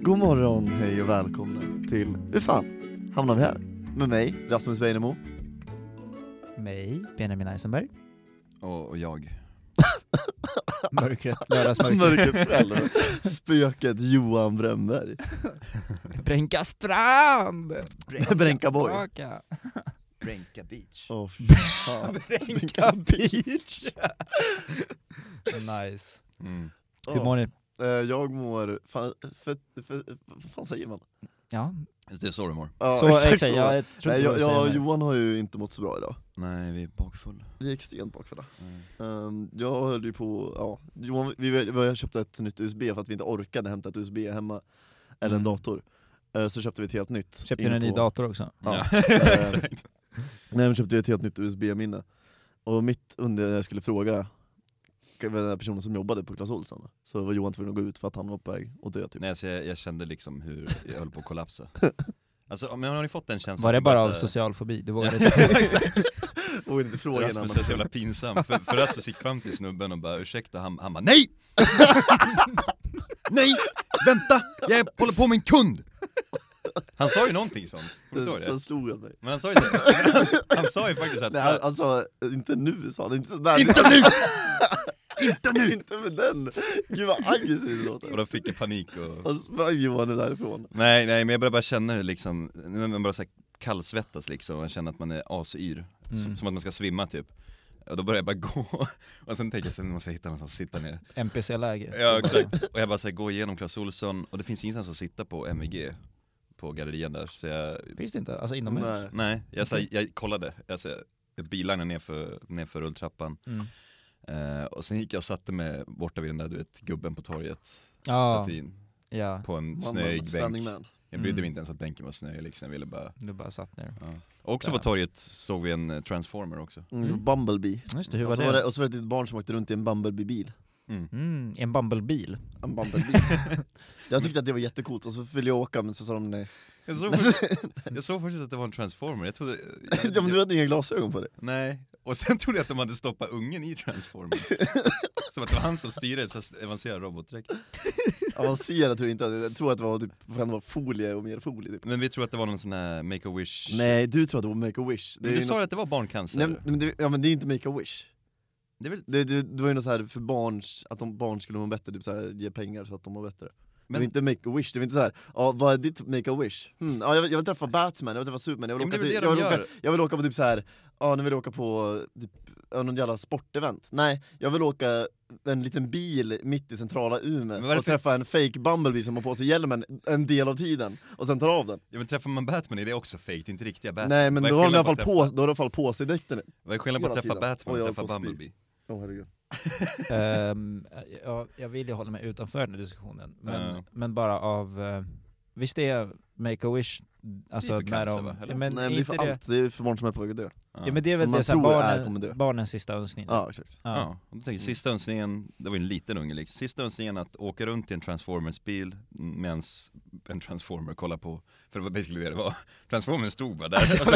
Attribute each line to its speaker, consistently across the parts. Speaker 1: God morgon, hej och välkomna till Hur fan hamnar vi här? Med mig, Rasmus Weinemo.
Speaker 2: Mig, Benjamin Eisenberg.
Speaker 3: Och, och jag.
Speaker 2: Mörkret, lördagsmörkret.
Speaker 1: Mörkret själv. Spöket Johan Bremberg.
Speaker 2: Bränka strand!
Speaker 1: Bränka boy.
Speaker 2: Tillbaka.
Speaker 3: Renka Beach.
Speaker 1: Åh, fy fan.
Speaker 2: Bränka beach! nice.
Speaker 3: Mm.
Speaker 2: Hur mår ni?
Speaker 1: Åh, eh, Jag mår... Fan, för, för, för, vad fan säger man?
Speaker 2: Ja,
Speaker 3: Det är så du mår?
Speaker 1: Ja,
Speaker 2: så exakt. Jag, jag tror
Speaker 1: Nej, jag,
Speaker 2: inte vad jag,
Speaker 1: jag,
Speaker 2: säger mer.
Speaker 1: Johan har ju inte mått så bra idag.
Speaker 3: Nej, vi är bakfulla.
Speaker 1: Vi är extremt bakfulla.
Speaker 3: Mm.
Speaker 1: Ehm, jag höll ju på, ja, Johan, vi, vi, vi köpte ett nytt USB för att vi inte orkade hämta ett USB hemma, eller en
Speaker 2: Mm.
Speaker 1: dator. Eh, så köpte vi ett helt nytt.
Speaker 2: Köpte
Speaker 1: in
Speaker 2: ni en ny
Speaker 1: på-
Speaker 2: dator också?
Speaker 1: Ja.
Speaker 3: Exakt.
Speaker 1: Nej men köpte vi ett helt nytt USB-minne. Och mitt under när jag skulle fråga den där personen som jobbade på Clas Ohlson, så var Johan tvungen att gå ut för att han var på väg att dö typ.
Speaker 3: Nej, alltså jag, jag kände liksom hur jag höll på att kollapsa. Alltså, men har ni fått den känslan?
Speaker 2: Var det
Speaker 3: att
Speaker 2: bara
Speaker 3: typ så
Speaker 2: av
Speaker 3: här-
Speaker 2: social fobi? Du vågade inte?
Speaker 3: Ja, exakt.
Speaker 1: Och inte fråga en annan.
Speaker 3: Rasmus är så jävla pinsam, för, för Rasmus gick fram till snubben och bara 'ursäkta' han, han bara 'NEJ! Nej! Vänta! Jag håller på med en kund!' Han sa ju någonting sånt, kommer du ihåg
Speaker 1: Sen
Speaker 3: det?
Speaker 1: slog han mig.
Speaker 3: Men han sa ju det. Han, han sa ju faktiskt att
Speaker 1: Nej han, han sa, inte nu sa han, inte sådär.
Speaker 3: Inte nu! Inte nu!
Speaker 1: inte med den! Gud vad aggressiv du
Speaker 3: Och
Speaker 1: låter.
Speaker 3: då fick jag panik och...
Speaker 1: Typ. Och sprang Johan därifrån.
Speaker 3: Nej nej men jag började bara känna det liksom, men man bara så här kallsvettas liksom, man känner att man är asyr, som,
Speaker 2: Mm.
Speaker 3: som att man ska svimma typ och då började jag bara gå, och sen tänker jag sen måste jag hitta någonstans att sitta ner
Speaker 2: NPC-läge?
Speaker 3: Ja exakt, och jag bara så här, går igenom Clas Ohlson, och det finns ingenstans att sitta på MVG På gallerian där, så jag,
Speaker 2: Finns det inte? Alltså inomhus?
Speaker 1: Nej.
Speaker 3: nej, jag, så här, jag kollade, alltså, jag bilade nerför, nerför rulltrappan
Speaker 2: Mm.
Speaker 3: eh, Och sen gick jag och satte mig borta vid den där du vet, gubben på torget,
Speaker 2: Ja,
Speaker 3: satin,
Speaker 2: ja.
Speaker 3: på en
Speaker 1: Man-
Speaker 3: snöig bänk
Speaker 1: Standing man.
Speaker 3: Jag brydde
Speaker 2: Mm.
Speaker 3: mig inte ens att bänken var snöig liksom, jag ville bara
Speaker 2: Du bara satt ner.
Speaker 3: Ja. Och Också
Speaker 2: Där.
Speaker 3: på torget såg vi en eh, transformer också.
Speaker 1: Mm. Bumblebee.
Speaker 2: Just det, hur
Speaker 1: och,
Speaker 2: var
Speaker 1: så Alltså, var det,
Speaker 2: det?
Speaker 1: och så var det ett barn som åkte runt i en Bumblebee-bil.
Speaker 2: Mm, en bumblebil.
Speaker 1: En Bumblebee. jag tyckte att det var jättecoolt och så ville jag åka men så sa de nej.
Speaker 3: Jag såg, först, jag såg först att det var en transformer, jag trodde... Jag, typ-
Speaker 1: ja men du hade inga glasögon på dig.
Speaker 3: nej. Och sen trodde jag att de hade stoppat ungen i transformern. som att det var han som styrde en så avancerad robotdräkt.
Speaker 1: Avancerat tror jag inte, att- jag tror att det var typ, fan, det var folie och mer folie typ.
Speaker 3: Men vi tror att det var någon sån här make-a-wish...
Speaker 1: Nej du tror att det var make-a-wish.
Speaker 3: Men
Speaker 1: är
Speaker 3: du
Speaker 1: ju
Speaker 3: sa
Speaker 1: något-
Speaker 3: ju att det var barncancer.
Speaker 1: nej, men det, Ja men det är inte make-a-wish.
Speaker 3: Det är väl...
Speaker 1: Det, det, det var ju något så här för barns, att de, barn skulle må bättre, typ så här, ge pengar så att de mår bättre. Men
Speaker 3: Men-
Speaker 1: det var inte make-a-wish, det var inte så här. ja vad är ditt make-a-wish? Hmm, ja, jag, vill, jag vill träffa Batman, jag vill träffa Superman, jag vill
Speaker 3: Ja, men
Speaker 1: åka
Speaker 3: det är väl
Speaker 1: till-
Speaker 3: det
Speaker 1: jag
Speaker 3: de
Speaker 1: vill åka-
Speaker 3: gör.
Speaker 1: jag vill åka på typ så här. ja nu vill jag åka på typ, ja, någon jävla sportevent. Nej, jag vill åka en liten bil mitt i centrala Umeå
Speaker 3: Men vad är det
Speaker 1: och
Speaker 3: för-
Speaker 1: träffa en fake Bumblebee som har på sig hjälmen en del av tiden, och sen tar av den.
Speaker 3: Ja, men träffar man Batman är det också fake, det är inte riktiga Batman.
Speaker 1: Nej men
Speaker 3: Vad är
Speaker 1: då har de i alla
Speaker 3: skillnaden
Speaker 1: fall
Speaker 3: att
Speaker 1: på, då har de i alla fall på sig dräkten.
Speaker 3: träffa- Vad är skillnaden på att
Speaker 1: hela
Speaker 3: träffa
Speaker 1: tiden.
Speaker 3: Batman
Speaker 1: Oj,
Speaker 3: och
Speaker 1: jag
Speaker 3: träffa
Speaker 1: håller på att spy.
Speaker 3: Bumblebee?
Speaker 1: Åh herregud.
Speaker 2: Ehm, jag, jag vill ju hålla mig utanför den här diskussionen, men,
Speaker 3: Ja.
Speaker 2: men bara av... eh, visst är Make-A-Wish, alltså
Speaker 3: för
Speaker 2: när
Speaker 3: cancer,
Speaker 2: de...
Speaker 3: va? Eller?
Speaker 2: ja, men
Speaker 1: Nej men det är
Speaker 2: inte
Speaker 1: för allt, det är för barn som är på väg att dö.
Speaker 2: Ja men det är
Speaker 1: Som
Speaker 2: väl
Speaker 1: man
Speaker 2: det såhär,
Speaker 1: tror är kommer dö.
Speaker 2: barnen, barnens sista önskning?
Speaker 1: Ja exakt.
Speaker 2: Ja.
Speaker 3: Ja, och då tänker jag, sista önskningen, det var ju en liten unge liksom, sista önskningen att åka runt i en Transformers-bil medan en Transformer kollar på, för det var basically det det var. Transformers stod bara där, och sen,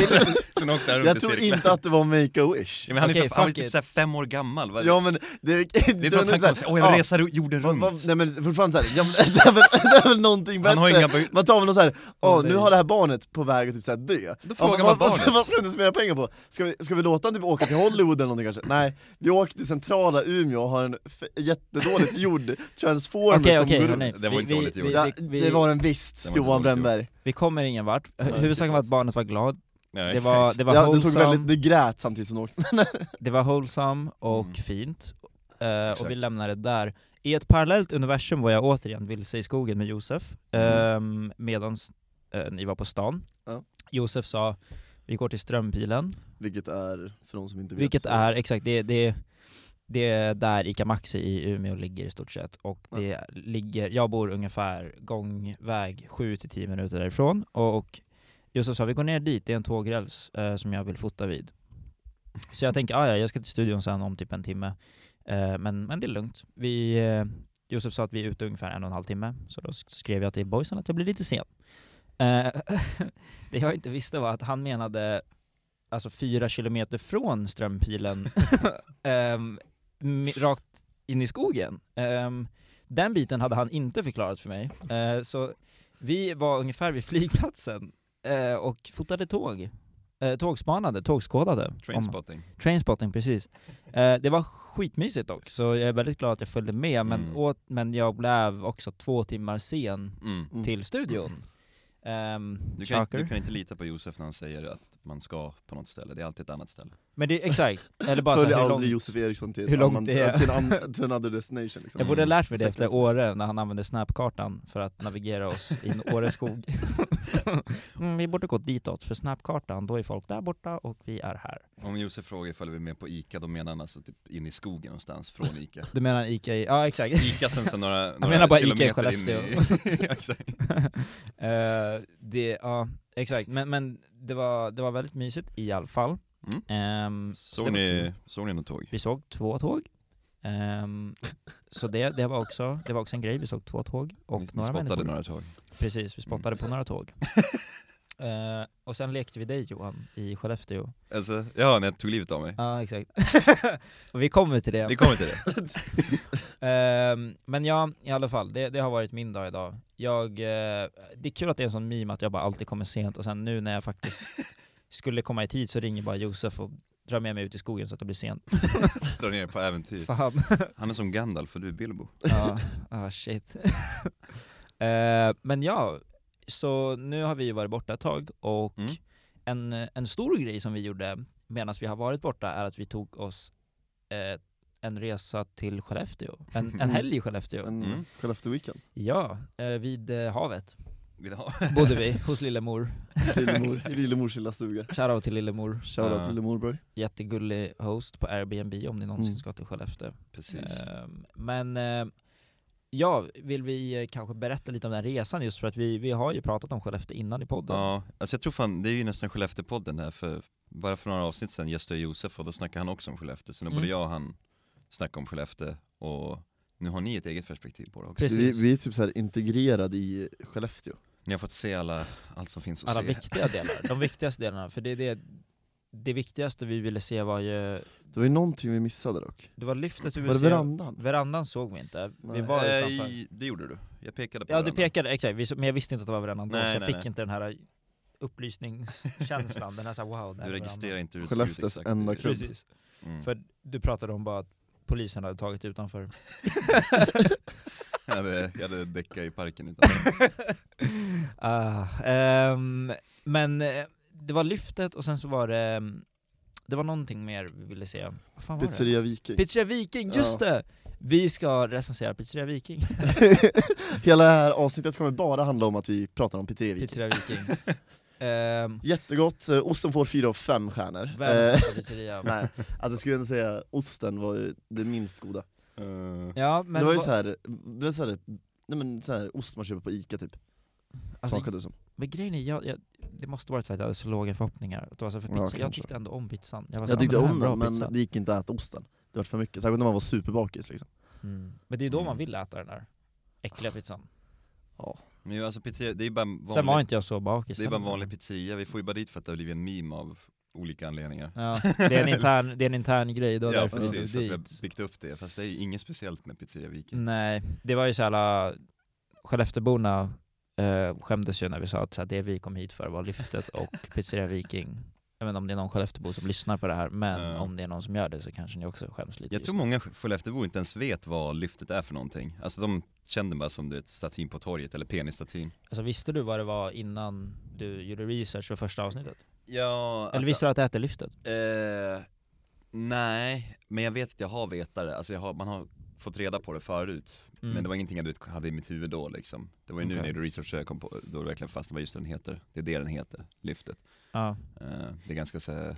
Speaker 3: sen åkte han runt
Speaker 1: Jag
Speaker 3: i
Speaker 1: tror
Speaker 3: cirklar.
Speaker 1: inte att det var make-a-wish.
Speaker 3: ja, men han
Speaker 2: Okej,
Speaker 3: är, för, han är
Speaker 2: fuck
Speaker 3: typ
Speaker 2: it.
Speaker 3: såhär fem år gammal, va?
Speaker 1: Ja men det,
Speaker 3: det är som att han kommer säga åh jag vill resa ro- jorden
Speaker 1: Vad- vad-
Speaker 3: runt.
Speaker 1: nej men fortfarande såhär, ja, men det, är väl, det är väl någonting bättre?
Speaker 3: Han har inga be-
Speaker 1: Man tar väl någon såhär, åh
Speaker 2: Åh, nej.
Speaker 1: nu har det här barnet på väg att typ såhär dö
Speaker 3: Då frågar
Speaker 1: Ja,
Speaker 3: man
Speaker 1: vad-
Speaker 3: barnet.
Speaker 1: Vad ska vi spendera pengar på? Ska vi, ska vi låta han typ åka till Hollywood eller någonting kanske? Nej, vi åker till centrala Umeå och har en f- jättedåligt gjord transformer
Speaker 2: Okej
Speaker 1: som
Speaker 2: okej
Speaker 1: går
Speaker 2: hörni,
Speaker 1: runt
Speaker 3: Det var
Speaker 2: vi,
Speaker 3: inte
Speaker 2: vi,
Speaker 3: dåligt gjort.
Speaker 2: vi,
Speaker 1: ja,
Speaker 2: vi,
Speaker 1: Det var den visst,
Speaker 3: Det var inte dåligt
Speaker 1: Johan Brännberg
Speaker 2: vi kommer ingen vart. Hu-
Speaker 1: Nej,
Speaker 2: Huvudsaken var att barnet var glad,
Speaker 3: Nej,
Speaker 2: det
Speaker 3: exakt.
Speaker 2: var, det var
Speaker 1: ja, det, såg
Speaker 2: wholesome,
Speaker 1: väldigt, det grät samtidigt som det åkte
Speaker 2: det var wholesome och
Speaker 3: Mm.
Speaker 2: fint, Eh, och
Speaker 3: Exakt.
Speaker 2: vi lämnar det där. I ett parallellt universum var jag återigen vilse i skogen med Josef, mm. medan ni var på stan.
Speaker 1: Ja.
Speaker 2: Josef sa, vi går till Strömpilen,
Speaker 1: Vilket är, för de som inte vet
Speaker 2: Vilket
Speaker 1: så-
Speaker 2: är, exakt, det, det, det är där ICA Maxi i Umeå ligger i stort sett. Och det ligger, jag bor ungefär gångväg 7-10 minuter därifrån. Och, och Josef sa, vi går ner dit, det är en tågräls eh, som jag vill fota vid. Så jag tänker, "Ah, ja jag ska till studion sen om typ en timme. Eh, men, men det är lugnt. Vi, eh, Josef sa att vi är ute ungefär en och en halv timme, så då skrev jag till boysen att jag blir lite sen. Eh, det jag inte visste var att han menade alltså fyra kilometer från Strömpilen, ehm, mi- rakt in i skogen. Ehm, Den biten hade han inte förklarat för mig, eh, så vi var ungefär vid flygplatsen eh, och fotade tåg. Eh, tågspanade, tågskådade. Om-
Speaker 3: Trainspotting.
Speaker 2: Trainspotting, precis. Eh, det var skitmysigt dock, så jag är väldigt glad att jag följde med, men,
Speaker 3: Mm.
Speaker 2: åt, men jag blev också två timmar sen
Speaker 3: Mm.
Speaker 1: Mm.
Speaker 2: till studion. Ehm,
Speaker 3: Du, kan,
Speaker 2: shocker.
Speaker 3: du kan inte lita på Josef när han säger att man ska på något ställe, det är alltid ett annat ställe.
Speaker 2: Men det, exakt, eller bara så
Speaker 1: Följ
Speaker 2: här, hur långt...
Speaker 1: aldrig Josef Eriksson till,
Speaker 2: hur
Speaker 1: en
Speaker 2: långt
Speaker 1: annan-
Speaker 2: det är.
Speaker 1: till, en annan- till en another destination liksom.
Speaker 2: Jag borde ha lärt mig det
Speaker 1: Mm,
Speaker 2: efter
Speaker 1: säkert.
Speaker 2: Åre, när han använde snapkartan för att navigera oss in i Åres skog. mm, vi borde gå ditåt, för snapkartan, då är folk där borta och vi är här.
Speaker 3: Om Josef frågar ifall vi är med på ICA, då menar han alltså typ in i skogen någonstans, från ICA.
Speaker 2: Du menar Ica i... Ja, exakt.
Speaker 3: ICA sen, sen några, några
Speaker 2: menar bara Ica i
Speaker 3: kilometer in
Speaker 2: Skellefteå.
Speaker 3: i... Ja, exakt.
Speaker 2: Eh, det, ja, exakt. Men, men det, var, det var väldigt mysigt i alla fall.
Speaker 3: Mm.
Speaker 2: Ehm, så
Speaker 3: såg,
Speaker 2: det var
Speaker 3: ni,
Speaker 2: kul.
Speaker 3: såg ni något tåg?
Speaker 2: Vi såg två tåg. Ehm, så det, det, var också, det var också en grej, vi såg två tåg och
Speaker 3: ni, ni
Speaker 2: några
Speaker 3: spottade
Speaker 2: människor.
Speaker 3: några tåg?
Speaker 2: Precis, vi spottade på några tåg. Eh, och sen lekte vi dig Johan, i Skellefteå.
Speaker 3: Alltså, ja, när jag tog livet av mig.
Speaker 2: Ja, exakt. och vi kommer till det.
Speaker 3: Vi kommer till det.
Speaker 2: Ehm, men ja, i alla fall, det, det har varit min dag idag. Jag, eh, det är kul att det är en sån meme att jag bara alltid kommer sent och sen nu när jag faktiskt skulle komma i tid så ringer bara Josef och drar med mig ut i skogen så att det blir sent.
Speaker 3: Dra ner på äventyr.
Speaker 2: Fan.
Speaker 3: Han är som Gandalf och du är Bilbo.
Speaker 2: Ja, ah, shit. Eh, men ja, så nu har vi ju varit borta ett tag och
Speaker 3: Mm.
Speaker 2: en, en stor grej som vi gjorde medan vi har varit borta är att vi tog oss eh, en resa till Skellefteå. En, en helg i Skellefteå.
Speaker 1: En
Speaker 3: Mm.
Speaker 1: Skellefteå-weekend.
Speaker 2: Ja, eh, vid eh, havet
Speaker 3: Vill ha?
Speaker 2: bodde vi hos Lillemor.
Speaker 1: Lillemor- I Lillemors lilla stuga.
Speaker 2: Shoutout till Lillemor.
Speaker 1: Shoutout
Speaker 3: Ja.
Speaker 1: till Lillemorberg.
Speaker 2: Jättegullig host på Airbnb om ni någonsin
Speaker 1: Mm.
Speaker 2: ska till Skellefteå.
Speaker 3: Precis.
Speaker 2: Ehm, men eh, ja, vill vi eh, kanske berätta lite om den här resan just för att vi, vi har ju pratat om Skellefteå innan i podden.
Speaker 3: Ja, alltså jag tror fan, det är ju nästan Skellefteå-podden där, för bara för några avsnitt sedan gästade jag Josef och då snackade han också om Skellefteå, så nu
Speaker 2: Mm.
Speaker 3: både jag och han snackade om Skellefteå och nu har ni ett eget perspektiv på det också.
Speaker 2: Precis.
Speaker 1: Vi, vi är typ så här integrerade i Skellefteå.
Speaker 3: Ni har fått se alla, allt som finns att
Speaker 2: Alla
Speaker 3: se.
Speaker 2: viktiga delar, de viktigaste delarna. För det, är det, det viktigaste vi ville se var ju,
Speaker 1: Det var ju någonting vi missade dock.
Speaker 2: det var lyftet vi
Speaker 1: Var det
Speaker 2: ville se.
Speaker 1: verandan?
Speaker 2: Verandan såg vi inte, vi
Speaker 1: Nej.
Speaker 2: var
Speaker 3: Eh,
Speaker 2: utanför.
Speaker 3: det gjorde du. Jag pekade på
Speaker 2: Ja du
Speaker 3: varandra.
Speaker 2: pekade, exakt, vi- men jag visste inte att det var verandan då, så
Speaker 3: Nej,
Speaker 2: jag
Speaker 3: nej,
Speaker 2: fick
Speaker 3: nej.
Speaker 2: inte den här upplysningskänslan, den här såhär wow, det här
Speaker 3: Du
Speaker 2: är verandan.
Speaker 3: registrerar inte hur det
Speaker 1: Skellefteås
Speaker 3: ser ut exakt.
Speaker 1: enda klubb.
Speaker 2: Precis,
Speaker 3: Mm.
Speaker 2: för du pratade om bara att polisen hade tagit utanför.
Speaker 3: Jag hade, jag hade däckat i parken utan.
Speaker 2: Ah, ehm, men eh, det var lyftet och sen så var det, ehm, det var någonting mer vi ville se. Vad fan var det?
Speaker 1: Pizzeria Viking.
Speaker 2: Pizzeria Viking, just det! Vi ska recensera Pizzeria Viking.
Speaker 1: Hela det här avsnittet kommer bara handla om att vi pratar om Pizzeria Viking.
Speaker 2: Pizzeria Viking. Ehm,
Speaker 1: Jättegott, Eh, osten får fyra av fem stjärnor.
Speaker 2: Världens
Speaker 1: Eh,
Speaker 2: bästa pizzeria.
Speaker 1: nej, alltså jag skulle ändå säga osten var ju det minst goda.
Speaker 3: Eh,
Speaker 2: Ja, men
Speaker 1: det var ju
Speaker 2: vad-
Speaker 1: så här, det var så här, nej men så här, ost man köper på Ica typ,
Speaker 2: alltså,
Speaker 1: smakade det som.
Speaker 2: Men grejen är, jag, jag, det måste varit för att jag hade så låga förhoppningar. Det var så för
Speaker 1: Ja,
Speaker 2: pizza, jag
Speaker 1: kanske.
Speaker 2: tyckte ändå om pizzan. var så,
Speaker 1: Jag
Speaker 2: "Ah,
Speaker 1: tyckte
Speaker 2: det här är
Speaker 1: om
Speaker 2: en bra
Speaker 1: den men
Speaker 2: pizza."
Speaker 1: det gick inte att äta osten. Det var för mycket, särskilt när man var superbakis liksom.
Speaker 2: Mm. Men det är ju då man
Speaker 3: Mm.
Speaker 2: vill äta den där äckliga pizzan.
Speaker 3: Men ju, alltså pizzeria, det är ju bara en
Speaker 2: Sen var
Speaker 3: vanlig,
Speaker 2: inte jag så bakis.
Speaker 3: det är bara en
Speaker 2: heller.
Speaker 3: vanlig pizzeria, vi får ju bara dit för att det har blivit en meme av olika anledningar.
Speaker 2: Ja, det är en intern, det är en intern grej, då
Speaker 3: ja
Speaker 2: därför vi
Speaker 3: precis,
Speaker 2: drog
Speaker 3: att vi har
Speaker 2: dit.
Speaker 3: byggt upp det, fast det är ju inget speciellt med Pizzeria Viking.
Speaker 2: Nej, det var ju så alla Skellefteåborna eh, skämdes ju när vi sa att så här, det vi kom hit för var lyftet och pizzeria Viking. Jag vet inte om det är någon Skelleftebo som lyssnar på det här, men
Speaker 3: Ja.
Speaker 2: om det är någon som gör det så kanske ni också skäms lite.
Speaker 3: Jag
Speaker 2: just
Speaker 3: tror
Speaker 2: nu.
Speaker 3: många Skelleftebor inte ens vet vad lyftet är för någonting. Alltså de känner bara som du vet, statyn på torget, eller penisstatyn.
Speaker 2: Alltså visste du vad det var innan du gjorde research för första avsnittet?
Speaker 3: Ja,
Speaker 2: Eller visste du att det hette lyftet?
Speaker 3: Eh, nej, men jag vet att jag har vetat det. Alltså jag har, man har fått reda på det förut.
Speaker 2: Mm.
Speaker 3: Men det var ingenting jag du vet, hade i mitt huvud då liksom. Det var ju nu
Speaker 2: Okej.
Speaker 3: när du researchade jag kom på, då det verkligen fastnade vad just den heter. Det är det den heter, lyftet.
Speaker 2: Ja.
Speaker 3: Eh, det är ganska så här,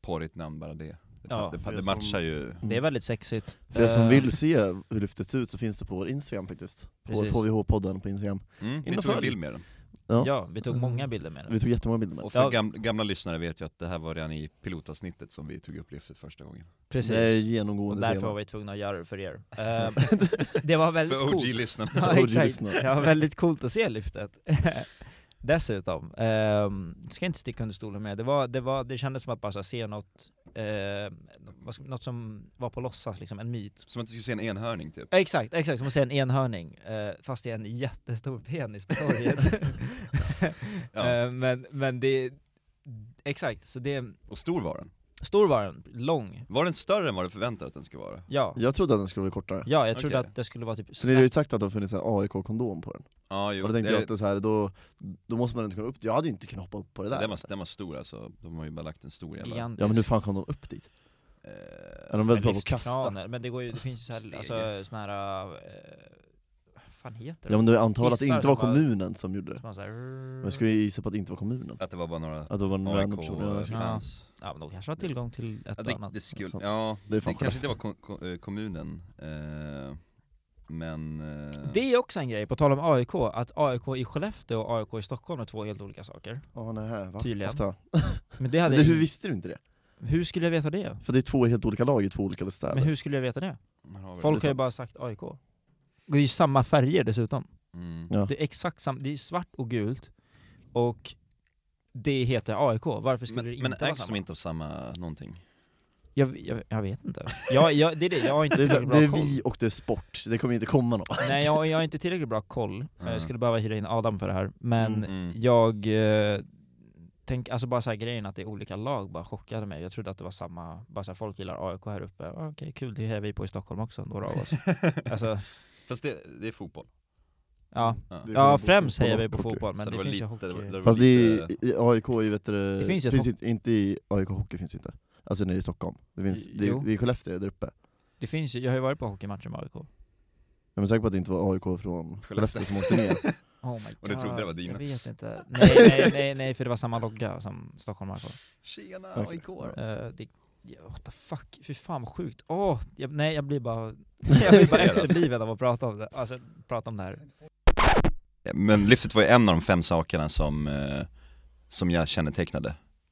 Speaker 3: porrigt namn bara det. Det,
Speaker 2: Ja.
Speaker 3: det, det,
Speaker 1: Det är
Speaker 3: matchar
Speaker 1: som-
Speaker 3: ju. Mm,
Speaker 2: Mm. Det är väldigt sexigt.
Speaker 1: För er som
Speaker 2: Eh,
Speaker 1: vill se hur lyftet ser ut så finns det på vår Instagram faktiskt. Vår
Speaker 2: precis.
Speaker 1: HVH-podden på Instagram.
Speaker 3: Mm, vi
Speaker 1: Inom
Speaker 3: tog en
Speaker 1: följd.
Speaker 3: bild med den.
Speaker 1: Ja.
Speaker 2: Ja, vi tog många bilder med
Speaker 1: Vi
Speaker 2: den.
Speaker 1: tog jättemånga bilder med
Speaker 3: Och
Speaker 1: det.
Speaker 3: för
Speaker 2: Ja.
Speaker 3: gam, gamla lyssnare vet ju att det här var redan i pilotavsnittet som vi tog upp lyftet första gången.
Speaker 1: Det är
Speaker 2: Precis. Och
Speaker 1: genomgående
Speaker 2: därför var
Speaker 1: tema.
Speaker 2: vi tvungna att göra det för er. Eh, det var väldigt
Speaker 3: För
Speaker 2: coolt.
Speaker 3: OG-lyssnarna.
Speaker 2: Ja,
Speaker 1: För
Speaker 2: exakt.
Speaker 1: OG-lyssnare.
Speaker 2: Det var väldigt coolt att se lyftet. Dessutom, ehm, ska inte sticka under stolen med, det, var, det, var, det kändes som att bara så här, se något, eh, vad ska- något som var på låtsas liksom, en myt.
Speaker 3: Som att du skulle se en enhörning typ.
Speaker 2: Ja, Exakt, exakt, som att se en enhörning, eh, fast det är en jättestor penis på torget.
Speaker 3: Ja.
Speaker 2: Eh, men, men det, exakt, så det,
Speaker 3: Och stor var den.
Speaker 2: stor var den, lång.
Speaker 3: Var den större än vad du förväntade att den skulle vara?
Speaker 2: Ja,
Speaker 1: Jag trodde att den skulle vara kortare.
Speaker 2: ja jag trodde
Speaker 3: Okej.
Speaker 2: att det skulle vara typ
Speaker 1: Så det är ju sagt att det har funnits en AIK-kondom på den.
Speaker 3: Ja, jo.
Speaker 1: Och då tänkte
Speaker 3: det-
Speaker 1: jag att det är så här, då, då måste man inte komma upp Jag hade inte kunnat hoppa upp på det där.
Speaker 3: Den var, den var stor alltså, de har ju bara lagt en stor jävla...
Speaker 2: gigantisk.
Speaker 1: Ja men hur fan kom de upp dit?
Speaker 3: Eh,
Speaker 1: Är de väldigt bra
Speaker 2: Med
Speaker 1: på att kasta?
Speaker 2: lyftkranar, Men det går ju, det finns ju såhär,
Speaker 3: Stege.
Speaker 2: alltså såna här, eh, vad fan heter det?
Speaker 1: Ja men du antar att det
Speaker 2: Hissar
Speaker 1: inte var
Speaker 2: som bara-
Speaker 1: kommunen som gjorde det?
Speaker 2: Som man såhär,
Speaker 1: Men jag skulle ju gissa på att det inte var kommunen.
Speaker 3: att det var bara några
Speaker 1: Att det var en random person. Ja,
Speaker 2: fan.
Speaker 3: AIK-fans.
Speaker 2: Ja men de kanske har tillgång till ett
Speaker 3: Ja,
Speaker 2: och
Speaker 3: det,
Speaker 2: annat.
Speaker 3: det, skulle,
Speaker 1: sant.
Speaker 3: ja,
Speaker 1: Det är
Speaker 3: det,
Speaker 1: fan
Speaker 3: kanske inte var ko- ko- eh, kommunen, eh, men... eh,
Speaker 2: Det är också en grej, på tal om AIK, att AIK i Skellefteå och AIK i Stockholm är två helt olika saker.
Speaker 1: Ja, nej, va?
Speaker 2: Tydligen.
Speaker 1: Ofta.
Speaker 2: Men det hade
Speaker 1: Men hur visste du inte det?
Speaker 2: hur skulle jag veta det?
Speaker 1: För det är två helt olika lag i två olika städer.
Speaker 2: Men hur skulle jag veta det?
Speaker 3: här har vi det.
Speaker 2: Folk
Speaker 1: det
Speaker 2: har
Speaker 1: är
Speaker 2: ju bara sagt AIK. Och Det är ju samma färger dessutom.
Speaker 3: Mm.
Speaker 1: Ja.
Speaker 2: Det är exakt samma, det är svart och gult, och det heter AIK, varför skulle det
Speaker 3: Men,
Speaker 2: inte
Speaker 3: men
Speaker 2: vara
Speaker 3: ägs
Speaker 2: samma?
Speaker 3: de inte av samma någonting?
Speaker 2: Jag, jag, jag vet inte. Jag, jag, det är det, jag har inte
Speaker 1: Det är, så,
Speaker 2: tillräckligt bra
Speaker 1: det är
Speaker 2: koll.
Speaker 1: vi och det är sport, det kommer inte komma någon
Speaker 2: Nej jag, jag har inte tillräckligt bra koll, Eh,
Speaker 3: Mm.
Speaker 2: jag skulle behöva hyra in Adam för det här, men
Speaker 1: Mm,
Speaker 3: Mm.
Speaker 2: jag eh, tänk, alltså bara så här grejen att det är olika lag bara chockade mig. Jag trodde att det var samma, bara så här, folk gillar AIK här uppe, ah, okej kul, det är vi på i Stockholm också, några av oss. alltså,
Speaker 3: Fast det, det är fotboll.
Speaker 2: ja.
Speaker 3: Ja.
Speaker 1: Mm. Det är
Speaker 2: ja
Speaker 1: fotboll-
Speaker 2: främst hejar
Speaker 1: fotboll
Speaker 2: vi på
Speaker 1: och hockey.
Speaker 2: fotboll, men
Speaker 3: Så
Speaker 2: det,
Speaker 3: var
Speaker 2: finns ju
Speaker 3: lite-
Speaker 2: hockey.
Speaker 3: det var- det var
Speaker 1: Fast det
Speaker 3: lite-
Speaker 1: är, i- i AIK är ju vet du,
Speaker 2: Det finns ju ett
Speaker 1: finns
Speaker 2: hopp-
Speaker 1: inte, inte i AIK Hockey finns inte. Alltså nere i Stockholm. Det, finns, det,
Speaker 2: Jo.
Speaker 1: är, det är i Skellefteå där uppe.
Speaker 2: det finns ju, jag har ju varit på hockeymatcher med AIK.
Speaker 1: Jag är säker på att det inte var AIK från Skellefteå som åkte ner.
Speaker 2: Oh my god.
Speaker 3: Och du trodde det var dina.
Speaker 2: Jag vet inte. Nej, nej, nej, nej, för det var samma logga som Stockholm AIK.
Speaker 3: Tjena
Speaker 1: Okej.
Speaker 3: AIK!
Speaker 2: Eh,
Speaker 1: Alltså.
Speaker 2: det, ja, what the fuck, fy fan vad sjukt. Åh, jag, nej jag blir bara, jag blir bara efterbliven av att prata om det, alltså, prata om det här.
Speaker 3: Men lyftet var ju en av de fem sakerna som, eh, som jag kännetecknade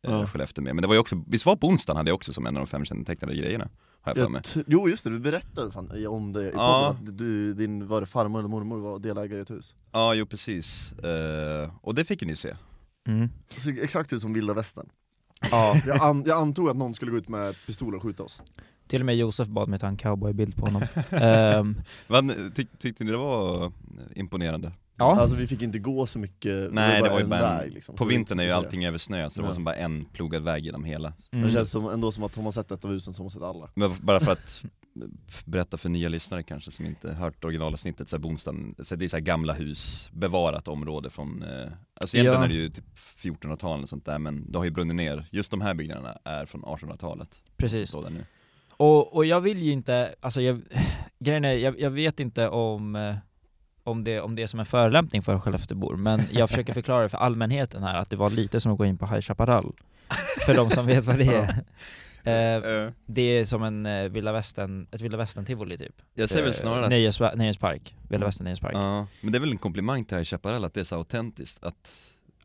Speaker 3: eh,
Speaker 1: Ja.
Speaker 3: Skellefteå med. Men det var ju också, visst var på onsdagen hade jag också som en av de fem kännetecknade grejerna? Har jag för mig.
Speaker 1: Jag tr- jo just det, du berättade fan i- om det i podden,
Speaker 3: Ja.
Speaker 1: att du, din var det farmor eller mormor var delägare i ett hus.
Speaker 3: Ja, jo precis. Eh, och det fick ju ni se.
Speaker 1: Det såg exakt ut som vilda västern.
Speaker 2: Ja.
Speaker 1: Jag, an, jag antog att någon skulle gå ut med pistol och skjuta oss.
Speaker 2: Till och med Josef bad mig ta en cowboybild på honom. Ehm,
Speaker 3: Vad- tyck, tyckte ni det var imponerande?
Speaker 2: ja,
Speaker 1: Alltså vi fick inte gå så mycket,
Speaker 3: Nej,
Speaker 1: bara
Speaker 3: det var ju
Speaker 1: en
Speaker 3: bara en-
Speaker 1: väg, liksom.
Speaker 3: På
Speaker 1: Så det är
Speaker 3: vintern är ju
Speaker 1: inte så mycket att
Speaker 3: allting över snö, så det var
Speaker 1: Ja.
Speaker 3: som bara en plogad väg genom hela.
Speaker 1: säga.
Speaker 2: mm.
Speaker 1: Det känns som, ändå som att har man sett ett av husen så har man sett alla.
Speaker 3: Men bara för att berätta för nya lyssnare kanske som inte hört originalavsnittet, så här Bonstan, så det är så här gamla hus, bevarat område från, eh, alltså egentligen
Speaker 2: Ja.
Speaker 3: är det ju typ 1400-talet och sånt där, men det har ju brunnit ner. Just de här byggnaderna är från 1800-talet.
Speaker 2: precis.
Speaker 3: Så där nu.
Speaker 2: Och, och jag vill ju inte, alltså jag, grejen är, jag, jag vet inte om, eh, om, det, om det är som en förolämpning för Skelleftebor, men jag försöker förklara för allmänheten här att det var lite som att gå in på High Chaparral, för de som vet vad det är. Ehm,
Speaker 3: Eh,
Speaker 2: Det är som en eh, vilda västern, ett vilda västern-tivoli typ.
Speaker 3: jag säger väl
Speaker 2: Eh,
Speaker 3: snarare att, Mm.
Speaker 2: Nöjes, nöjespark, vilda västern nöjespark.
Speaker 3: ja, men det är väl en komplimang till High Chaparral att det är så autentiskt, att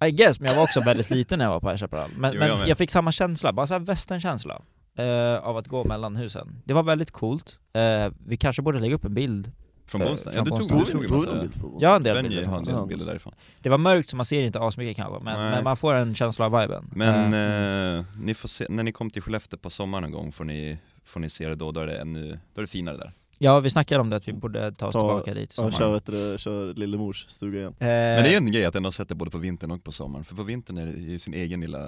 Speaker 2: I guess, men jag var också väldigt liten när jag var på High Chaparral. Men,
Speaker 3: Jo,
Speaker 2: men
Speaker 3: jag med.
Speaker 2: jag, fick samma känsla, bara såhär västernkänsla, eh, av att gå mellan husen. Det var väldigt coolt. Eh, vi kanske borde lägga upp en bild.
Speaker 3: från
Speaker 2: Eh,
Speaker 3: Bonsta, ja
Speaker 2: från
Speaker 3: du tog,
Speaker 2: Bonsta.
Speaker 3: du tog en
Speaker 1: en
Speaker 3: massa,
Speaker 1: bild på
Speaker 2: Jag har en del
Speaker 3: Benji
Speaker 2: bilder.
Speaker 3: har en
Speaker 2: från-
Speaker 3: del bilder därifrån.
Speaker 2: Det var mörkt så man ser inte asmycket
Speaker 3: Nej.
Speaker 2: kanske, men, men man får en känsla av viben.
Speaker 3: Men
Speaker 2: Eh,
Speaker 3: eh, ni får se, när ni kom till Skellefteå på sommaren någon gång får ni, får ni se det då, då är det ännu, då är det finare där.
Speaker 2: ja, vi snackade om det, att vi borde ta oss
Speaker 1: Ta-
Speaker 2: tillbaka dit i Eh,
Speaker 1: Ja,
Speaker 2: sommar.
Speaker 1: kör, vet du, kör Lillemors stuga igen.
Speaker 3: Men
Speaker 2: Eh.
Speaker 3: det är ju en grej att ändå sätta både på vintern och på sommaren, för på vintern är det ju sin egen lilla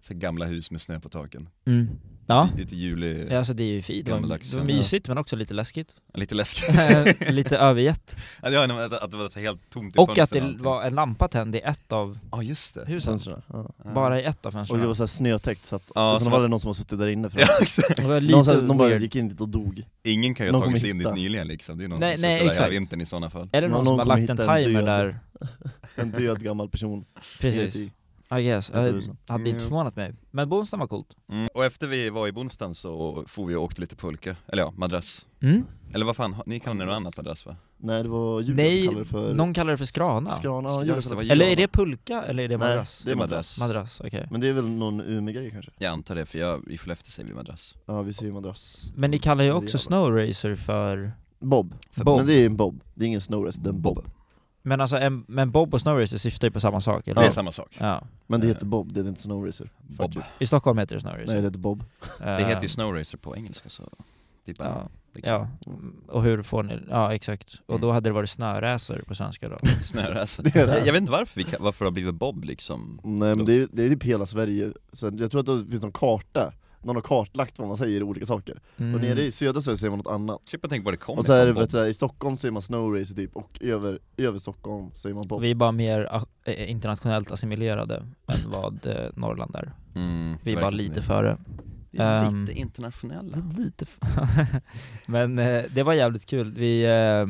Speaker 3: så här gamla hus med snö på taken.
Speaker 2: mm. Ja,
Speaker 3: Lite juli,
Speaker 2: alltså det är ju fint. Det var,
Speaker 3: Gammaldags
Speaker 2: det var
Speaker 3: känsla.
Speaker 2: mysigt men också lite läskigt.
Speaker 3: lite läskigt.
Speaker 2: Eh, lite övergett.
Speaker 3: Ja, det var nog att, att det var så helt tomt i
Speaker 2: Och
Speaker 3: fönstren
Speaker 2: att det
Speaker 3: allting.
Speaker 2: var en lampa tänd i ett av
Speaker 3: Ja just det.
Speaker 2: husen.
Speaker 1: Fönstren, ja.
Speaker 3: Ja.
Speaker 2: Bara i ett av
Speaker 1: Och
Speaker 2: fönstren.
Speaker 1: det var såhär snötäckt så att,
Speaker 3: Ja,
Speaker 1: sen
Speaker 3: så
Speaker 1: var
Speaker 3: man-
Speaker 1: det någon som har suttit där inne för
Speaker 3: Ja, exakt.
Speaker 2: Det var
Speaker 1: någon,
Speaker 2: lite
Speaker 1: så här, någon bara
Speaker 2: weird.
Speaker 1: gick in dit och dog.
Speaker 3: Ingen kan ju ha
Speaker 1: Någon
Speaker 3: tagit
Speaker 1: kommer
Speaker 3: sig in dit
Speaker 1: hitta.
Speaker 3: nyligen liksom, det är någon
Speaker 2: Nej,
Speaker 3: som har
Speaker 2: nej,
Speaker 3: suttit där hela
Speaker 2: exakt.
Speaker 3: vintern i sådana fall.
Speaker 2: Eller någon,
Speaker 1: Någon
Speaker 2: som
Speaker 1: kommer
Speaker 2: har lagt en
Speaker 1: hitta en
Speaker 2: timer
Speaker 1: död.
Speaker 2: där.
Speaker 1: En död gammal person.
Speaker 2: Precis. I guess.
Speaker 1: Ett
Speaker 2: Jag
Speaker 1: tusen.
Speaker 2: hade inte
Speaker 3: Mm.
Speaker 2: förvånat mig. Men Bonstam var coolt.
Speaker 3: Mm. Och efter vi var i Bonstan så for vi och åkte lite pulka, eller ja, madrass.
Speaker 2: Mm.
Speaker 3: Eller vad fan, ni kallar det något annat madrass va?
Speaker 1: Nej det var Julia som
Speaker 2: Nej,
Speaker 1: kallade det för...
Speaker 2: någon kallar det för skrana.
Speaker 3: Skrana,
Speaker 1: Skrana, ja, Julia
Speaker 3: just det,
Speaker 1: kallade
Speaker 3: vad
Speaker 1: för
Speaker 2: Eller
Speaker 3: Skrana.
Speaker 2: är det pulka eller är det
Speaker 1: Nej,
Speaker 2: madrass?
Speaker 1: det är madrass.
Speaker 3: madrass.
Speaker 2: Madrass, okej.
Speaker 1: Men det är väl någon Umeå-grej kanske?
Speaker 3: Jag antar det, för jag, i Skellefteå säger vi madrass.
Speaker 1: Ja vi ser ju madrass.
Speaker 2: Men ni kallar ju
Speaker 1: Det är
Speaker 2: också
Speaker 1: jävla-
Speaker 2: snowracer för
Speaker 1: Bob.
Speaker 2: bob.
Speaker 1: Men det är en bob, det är ingen snowrace, det är en bob.
Speaker 2: Men alltså, en, men Bob och Snow Racer syftar ju på samma sak, eller
Speaker 3: Det är
Speaker 2: hur?
Speaker 3: samma sak.
Speaker 2: Ja.
Speaker 1: Men det heter Bob, det heter inte Snow Racer. Fuck
Speaker 3: Eh. Bob.
Speaker 1: you.
Speaker 2: I Stockholm heter det Snow Racer. Eh,
Speaker 1: Nej det heter Bob.
Speaker 3: Det heter ju Snow Racer på engelska så det är bara,
Speaker 2: Ehm. Ja.
Speaker 3: liksom,
Speaker 2: Ja, och hur får ni, ja exakt. Och då hade det varit snöräser på svenska då.
Speaker 3: snöracer.
Speaker 1: Det är det.
Speaker 3: Jag, jag vet inte varför, vi, kan- varför det har blivit Bob liksom.
Speaker 1: Nej men det är, det är typ hela Sverige, så jag tror att det finns någon karta, någon har kartlagt vad man säger i olika saker.
Speaker 2: Mm.
Speaker 1: Och nere i södra Sverige säger man något annat.
Speaker 3: Slipper Typ tänka var det kommer
Speaker 1: Och så är det,
Speaker 3: ifrån,
Speaker 1: vet,
Speaker 3: Bob.
Speaker 1: du, i Stockholm säger man Snow Racer typ, och över, över Stockholm säger man Bob.
Speaker 2: Vi är bara mer ah, eh, internationellt assimilerade än vad eh, Norrland är.
Speaker 3: Mm,
Speaker 2: Vi är bara
Speaker 3: verkligen.
Speaker 2: lite före.
Speaker 3: Vi är
Speaker 2: Ehm.
Speaker 3: lite internationella.
Speaker 2: Lite f- Men eh, det var jävligt kul. Vi eh,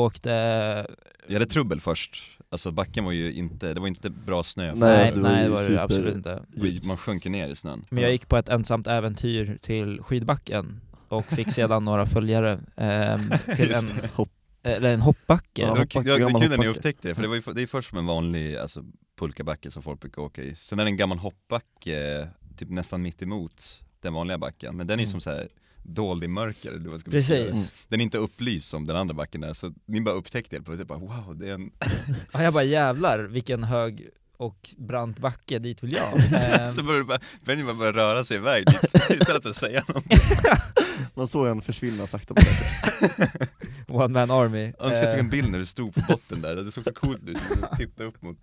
Speaker 2: åkte...
Speaker 3: Vi hade trubbel först, alltså backen var ju inte, det var inte bra snö
Speaker 1: Nej,
Speaker 2: Nej,
Speaker 1: det
Speaker 2: nej,
Speaker 1: var ju
Speaker 2: det var
Speaker 1: super-
Speaker 2: det absolut inte.
Speaker 3: Vi- Man sjönk ju ner i snön
Speaker 2: Men jag gick på ett ensamt äventyr till skidbacken och fick sedan några följare ehm, till
Speaker 3: Just
Speaker 2: en, hopp, eller en hoppbacke.
Speaker 1: Ja,
Speaker 3: Det var
Speaker 1: hoppback-
Speaker 3: kul- det var
Speaker 1: gammal
Speaker 3: kul när ni
Speaker 1: hoppbacke.
Speaker 3: upptäckte det,
Speaker 2: Mm.
Speaker 3: för det, var ju, det är först som en vanlig alltså, pulkabacke som folk brukar åka i Sen är det en gammal hoppbacke, typ nästan mitt emot den vanliga backen, men den är
Speaker 2: Mm.
Speaker 3: som så här dold i mörker eller vad man ska beskriva det.
Speaker 2: Precis. Mm.
Speaker 3: Den är inte upplyst som den andra backen är, så ni bara upptäckte helt plötsligt bara wow, det är en...
Speaker 2: Ja, jag bara jävlar vilken hög och brant backe, dit vill jag. Ehm,
Speaker 3: så började bara, Benjamin började röra sig iväg dit, utan att säga något
Speaker 1: Man såg en försvinna sakta på det.
Speaker 2: One Man Army.
Speaker 3: Jag önskar jag tog
Speaker 2: Eh,
Speaker 3: en bild när du stod på botten där, det såg så coolt ut, titta upp mot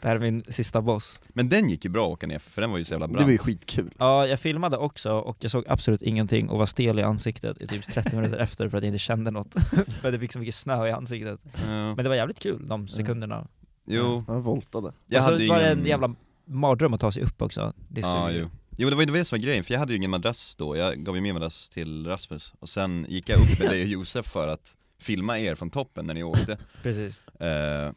Speaker 2: det här är min sista boss.
Speaker 3: Men den gick ju bra att åka ner för, för den var ju så jävla
Speaker 1: Det
Speaker 3: brant
Speaker 1: var ju skitkul.
Speaker 2: Ja, jag filmade också och jag såg absolut ingenting och var stel i ansiktet i typ 30 minuter efter för att jag inte kände något. för att det fick så mycket snö i ansiktet.
Speaker 3: Ja.
Speaker 2: Men det var jävligt kul de sekunderna.
Speaker 3: Jo,
Speaker 1: Han voltade.
Speaker 3: Mm. jag
Speaker 2: och så
Speaker 3: hade ju
Speaker 2: var det
Speaker 3: ingen...
Speaker 2: en jävla mardröm att ta sig upp också. Det är
Speaker 3: Ja,
Speaker 2: så...
Speaker 3: jo. jo, det var ju det som var grejen, för jag hade ju ingen madrass då, jag gav ju min madrass till Rasmus Och sen gick jag upp med dig och Josef för att filma er från toppen när ni åkte
Speaker 2: Precis.
Speaker 3: eh,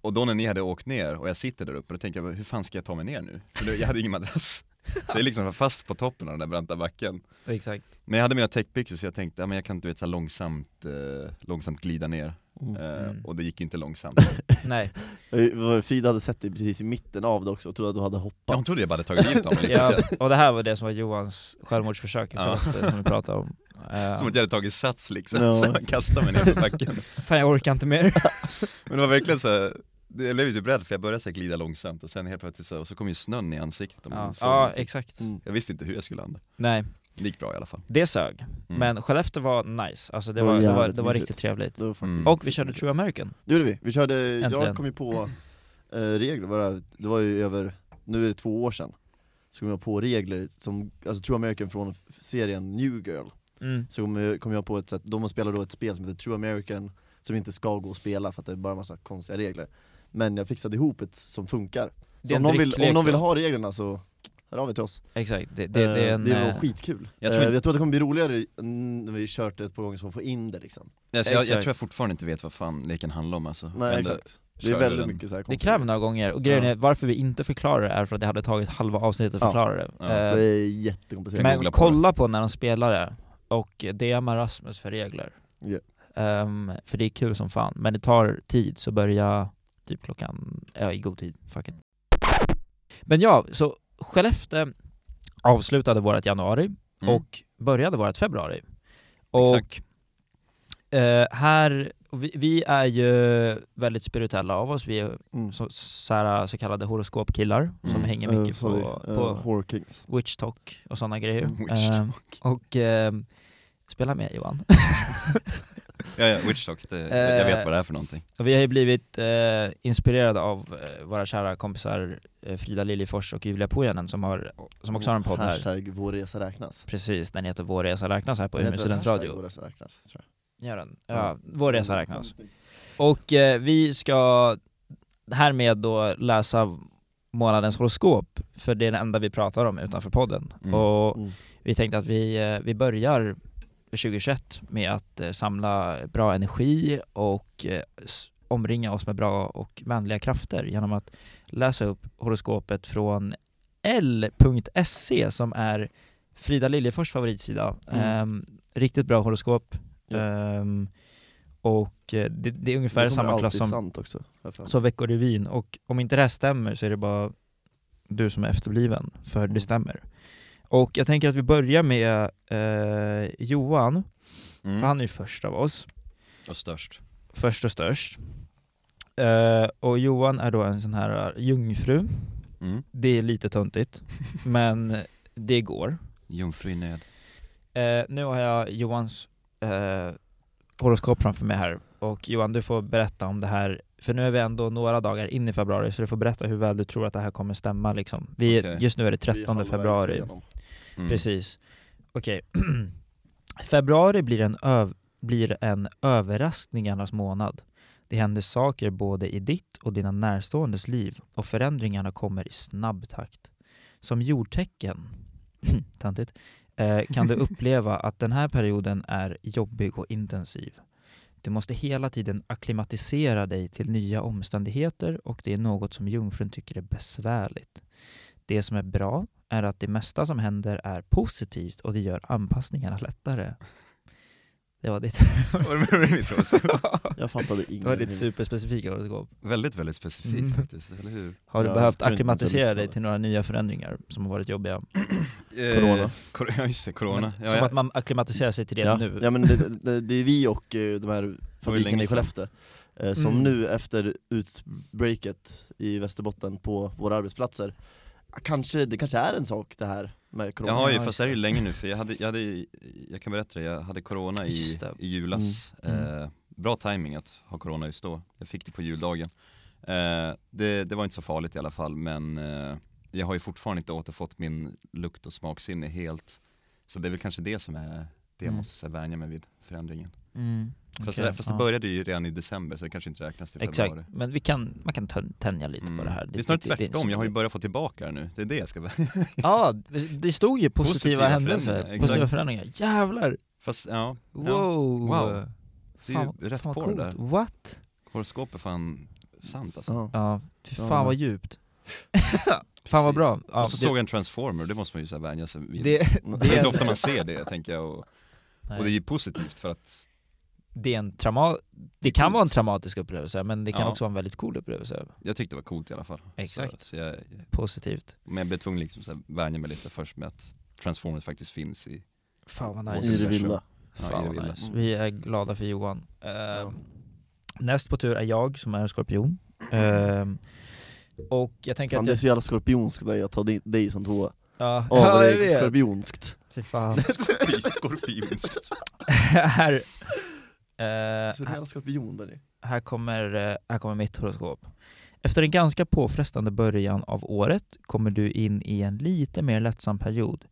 Speaker 3: Och då när ni hade åkt ner och jag sitter där uppe, då tänker jag hur fan ska jag ta mig ner nu? För då- jag hade ju ingen madrass Så jag liksom var fast på toppen av den där branta backen
Speaker 2: Exakt.
Speaker 3: Men jag hade mina techpictures så jag tänkte, ja, men jag kan du vet, så här långsamt, eh, långsamt glida ner
Speaker 1: Mm.
Speaker 3: eh,
Speaker 2: Mm.
Speaker 3: Och det gick inte långsamt
Speaker 2: Nej,
Speaker 1: Eh, vad Frida hade sett dig precis i mitten av det också och trodde att du hade
Speaker 3: Ja,
Speaker 1: hoppat.
Speaker 3: hon trodde jag bara hade tagit livet av mig
Speaker 2: ja,
Speaker 3: lite.
Speaker 2: och det här var det som var Johans självmordsförsök i
Speaker 3: Ja.
Speaker 2: Skellefteå som vi pratade om. Eh,
Speaker 3: Som att jag hade tagit sats liksom,
Speaker 1: Ja.
Speaker 3: så jag kastade mig ner på backen
Speaker 2: Ehm, Fan jag orkar inte mer.
Speaker 3: Men det var verkligen så här, det- jag blev ju typ rädd för jag började så här glida långsamt och sen helt plötsligt så, och så kom ju snön i ansiktet och man
Speaker 2: ja,
Speaker 3: såg
Speaker 2: ja
Speaker 3: inte.
Speaker 2: exakt.
Speaker 1: Mm.
Speaker 3: Jag visste inte hur jag skulle landa,
Speaker 2: Nej,
Speaker 3: det gick bra i alla fall
Speaker 2: det sög.
Speaker 3: Mm.
Speaker 2: Men Skellefteå var nice, alltså det
Speaker 1: Det var
Speaker 2: var, det var,
Speaker 1: jävligt
Speaker 2: det var
Speaker 1: mysigt.
Speaker 2: riktigt trevligt.
Speaker 1: Det var fucking
Speaker 3: Mm.
Speaker 2: Och vi
Speaker 1: mysigt.
Speaker 2: körde True American.
Speaker 1: Det gjorde vi, vi körde, jag
Speaker 2: Äntligen.
Speaker 1: kom ju på eh, regler, vad det, här- det var ju över, nu är det två år sedan Så kom jag på regler, som, alltså True American från f- serien New Girl
Speaker 2: Mm.
Speaker 1: Så kom jag, kom jag på ett sätt, de spelar då ett spel som heter True American Som inte ska gå att spela för att det är bara en massa konstiga regler Men jag fixade ihop ett som funkar
Speaker 2: Det
Speaker 1: Så om
Speaker 2: är en
Speaker 1: någon, vill, om
Speaker 2: dricklek,
Speaker 1: någon vill
Speaker 2: va?
Speaker 1: ha reglerna så Hör av er till oss.
Speaker 2: Exakt, det, det, det är
Speaker 1: Eh,
Speaker 2: en...
Speaker 1: det var
Speaker 2: eh,
Speaker 1: skitkul.
Speaker 3: Jag tror
Speaker 1: Jag tror,
Speaker 3: inte-
Speaker 1: jag tror att det kommer bli roligare mm, när vi kört det ett par gånger så man får in det liksom.
Speaker 3: alltså, jag, jag
Speaker 2: Exakt.
Speaker 3: tror jag fortfarande inte vet vad fan leken handlar om alltså
Speaker 1: Nej
Speaker 3: Men det-
Speaker 1: exakt. Det är
Speaker 3: körde
Speaker 1: väldigt
Speaker 3: den.
Speaker 1: mycket så här
Speaker 2: det
Speaker 1: konstiga-
Speaker 2: kräver några gånger, och grejen är varför vi inte förklarar det är för att det hade tagit halva avsnittet att
Speaker 1: Ja.
Speaker 2: förklara det.
Speaker 3: Ja.
Speaker 2: Eh,
Speaker 1: Det är jättekomplicerat.
Speaker 2: men
Speaker 3: googla på
Speaker 2: kolla på när de spelar det, och DMa Rasmus för regler.
Speaker 1: Ja.
Speaker 2: Ehm, för det är kul som fan, men det tar tid, så börja typ klockan, ja i god tid, fuck it. Men ja, så Skellefteå avslutade vårt januari,
Speaker 3: mm.
Speaker 2: och började vårt februari. Och eh, här, vi, vi är ju väldigt spirituella av oss, vi är
Speaker 1: Mm.
Speaker 2: så, så, här, så kallade horoskopkillar som
Speaker 3: Mm.
Speaker 2: hänger
Speaker 1: Eh,
Speaker 2: mycket
Speaker 1: sorry.
Speaker 2: på,
Speaker 1: Eh,
Speaker 2: på
Speaker 1: Horror Kings.
Speaker 2: witch talk och sådana grejer.
Speaker 1: Mm,
Speaker 3: witch
Speaker 2: Eh, och eh, spela med Johan. eh,
Speaker 3: Ja, ja, Witch Talk, det, jag vet vad det är för någonting
Speaker 2: Och vi har ju blivit eh, inspirerade av eh, våra kära kompisar eh, Frida Liljefors och Julia Pohjanen som, har, som också har en podd här.
Speaker 1: Hashtag vår resa räknas.
Speaker 2: Precis, den heter Vår resa räknas här på
Speaker 1: Den
Speaker 2: Umeå
Speaker 1: heter väl hashtag
Speaker 2: studentradio.
Speaker 1: Vår resa räknas, tror jag. Mm.
Speaker 2: Gör den?
Speaker 1: Ja.
Speaker 2: Ja, Vår resa räknas. Och eh, vi ska härmed då läsa månadens horoskop, för det är det enda vi pratar om utanför podden.
Speaker 3: Mm.
Speaker 2: Och
Speaker 1: Mm.
Speaker 2: vi tänkte att vi, eh, vi börjar 2021 med att eh, samla bra energi och eh, s- omringa oss med bra och vänliga krafter genom att läsa upp horoskopet fråfrån L.se som är Frida Liljefors favoritsida.
Speaker 1: Mm.
Speaker 2: Ehm, riktigt bra horoskop.
Speaker 1: Ja.
Speaker 2: Ehm, och eh, det, det är ungefär
Speaker 1: Det kommer
Speaker 2: samma klass
Speaker 1: alltid
Speaker 2: som,
Speaker 1: sant också. har jag för mig.
Speaker 2: som Veckorevyn och om inte det här stämmer så är det bara du som är efterbliven, för
Speaker 1: Mm.
Speaker 2: det stämmer. Och jag tänker att vi börjar med eh, Johan, för
Speaker 3: mm.
Speaker 2: han är ju först av oss,
Speaker 3: Och störst
Speaker 2: först och störst. Eh, och Johan är då en sån här eh, jungfru.
Speaker 3: Mm.
Speaker 2: Det är lite töntigt, men det går.
Speaker 3: Jungfru i nöd.
Speaker 2: Eh, nu har jag Johans eh, horoskop framför mig här, och Johan du får berätta om det här, för nu är vi ändå några dagar in i februari, så du får berätta hur väl du tror att det här kommer stämma liksom. vi,
Speaker 3: Okej.
Speaker 2: Just nu är det
Speaker 1: Vi är
Speaker 2: 13
Speaker 1: halvvägs
Speaker 2: februari.
Speaker 1: igenom.
Speaker 3: Mm.
Speaker 2: Precis. Okej. Februari blir en, öv- blir en överraskningarnas månad. Det händer saker både i ditt och dina närståendes liv och förändringarna kommer i snabb takt. Som jordtecken tantigt, eh, kan du uppleva att den här perioden är jobbig och intensiv. Du måste hela tiden akklimatisera dig till nya omständigheter och det är något som jungfrun tycker är besvärligt. Det som är bra är att det mesta som händer är positivt och det gör anpassningarna lättare. Det var ditt,
Speaker 3: Var det med mitt horoskop?
Speaker 1: Jag fattade
Speaker 2: det var ditt
Speaker 1: ingenting.
Speaker 2: superspecifika horoskop.
Speaker 3: Väldigt, väldigt specifikt
Speaker 2: Mm.
Speaker 3: faktiskt, eller hur?
Speaker 2: Har du
Speaker 1: Ja, jag
Speaker 2: behövt
Speaker 1: tror inte ens jag
Speaker 2: akklimatisera dig
Speaker 1: lyssnade.
Speaker 2: till några nya förändringar som har varit jobbiga?
Speaker 1: Corona.
Speaker 3: Eh, Cor- ja just det, corona.
Speaker 2: Men,
Speaker 3: Ja,
Speaker 2: som
Speaker 3: ja.
Speaker 2: att man akklimatiserar sig till det
Speaker 1: ja.
Speaker 2: nu?
Speaker 1: Ja men det, det, det är vi och eh, de här fabrikerna
Speaker 3: länge
Speaker 1: i
Speaker 3: sedan.
Speaker 1: Skellefteå eh, som
Speaker 2: Mm.
Speaker 1: nu efter utbreaket i Västerbotten på våra arbetsplatser ah, Kanske, det kanske är en sak det här med
Speaker 3: Jag
Speaker 1: corona
Speaker 3: har ju,
Speaker 2: Ja, just
Speaker 3: fast det här är ju
Speaker 2: det.
Speaker 3: länge nu, för jag hade, jag hade, jag kan berätta det, jag hade corona i,
Speaker 2: Just det.
Speaker 3: i julas.
Speaker 2: Mm. Mm.
Speaker 3: Eh, bra timing att ha corona just då, jag fick det på juldagen. Eh, det, det var inte så farligt i alla fall, men eh, jag har ju fortfarande inte återfått min lukt och smaksinne helt. Så det är väl kanske det som är det jag
Speaker 2: Mm.
Speaker 3: måste så här, vänja mig vid, förändringen.
Speaker 2: Mm.
Speaker 3: Fast,
Speaker 2: Okej,
Speaker 3: det, fast det
Speaker 2: ja.
Speaker 3: började ju redan i december, så det kanske inte räknas till
Speaker 2: Exakt,
Speaker 3: februari. Mm.
Speaker 2: men vi kan, man kan tön- tänja lite på det här.
Speaker 3: Det är snarare
Speaker 2: det- det-
Speaker 3: tvärtom, jag har ju börjat få tillbaka det nu. Det är det jag ska
Speaker 2: Ja, det stod ju positiva,
Speaker 3: Positiva
Speaker 2: händelser,
Speaker 3: förändringar,
Speaker 2: positiva
Speaker 3: exakt.
Speaker 2: förändringar. Jävlar!
Speaker 3: Fast ja, ja.
Speaker 2: Wow!
Speaker 3: Wow. Det är ju
Speaker 2: Fan,
Speaker 3: rätt
Speaker 2: fan vad
Speaker 3: på det
Speaker 2: coolt. What?
Speaker 3: horoskop är fan sant alltså.
Speaker 1: Ja.
Speaker 2: Ja, fy
Speaker 1: Ja,
Speaker 2: fan
Speaker 1: men-
Speaker 2: vad djupt. fan vad bra. Ja,
Speaker 3: och så
Speaker 2: det-
Speaker 3: såg jag en transformer, det måste man ju så här vänja sig vid. Mm. Det,
Speaker 2: det,
Speaker 3: är
Speaker 2: det-
Speaker 3: inte ofta man ser det tänker jag, och, och det är
Speaker 2: nej,
Speaker 3: ju positivt för att
Speaker 2: det är en trauma, det kan vara en traumatisk upplevelse, men det kan
Speaker 3: Ja.
Speaker 2: också vara en väldigt cool upplevelse.
Speaker 3: jag tyckte det var coolt i alla fall.
Speaker 2: Exakt.
Speaker 3: Så, så jag,
Speaker 2: Positivt.
Speaker 3: men jag blev tvungen liksom så här, vänja mig lite först med att transformers faktiskt finns i,
Speaker 2: Fan vad
Speaker 3: Och
Speaker 2: nice.
Speaker 1: I det vilda.
Speaker 3: Ja,
Speaker 2: Fan
Speaker 3: i det
Speaker 2: vad
Speaker 3: vilda.
Speaker 2: nice.
Speaker 1: Mm.
Speaker 2: Vi är glada för Johan. Ehm, Näst på tur är jag som är en skorpion.
Speaker 3: Mm.
Speaker 2: Ehm, och jag tänker
Speaker 1: Fan,
Speaker 2: att
Speaker 1: det är
Speaker 2: jag...
Speaker 1: så jävla skorpionskt av dig att ta di- dig som tvåa.
Speaker 2: Ja,
Speaker 1: Åh vad
Speaker 2: jag
Speaker 1: det är
Speaker 2: vet.
Speaker 1: skorpionskt.
Speaker 2: Fy fan.
Speaker 3: skorpionskt.
Speaker 2: här, eh,
Speaker 1: Så jävla skorpion där i.
Speaker 2: här, kommer, eh, här kommer mitt horoskop. Efter en ganska påfrestande början av året kommer du in i en lite mer lättsam period.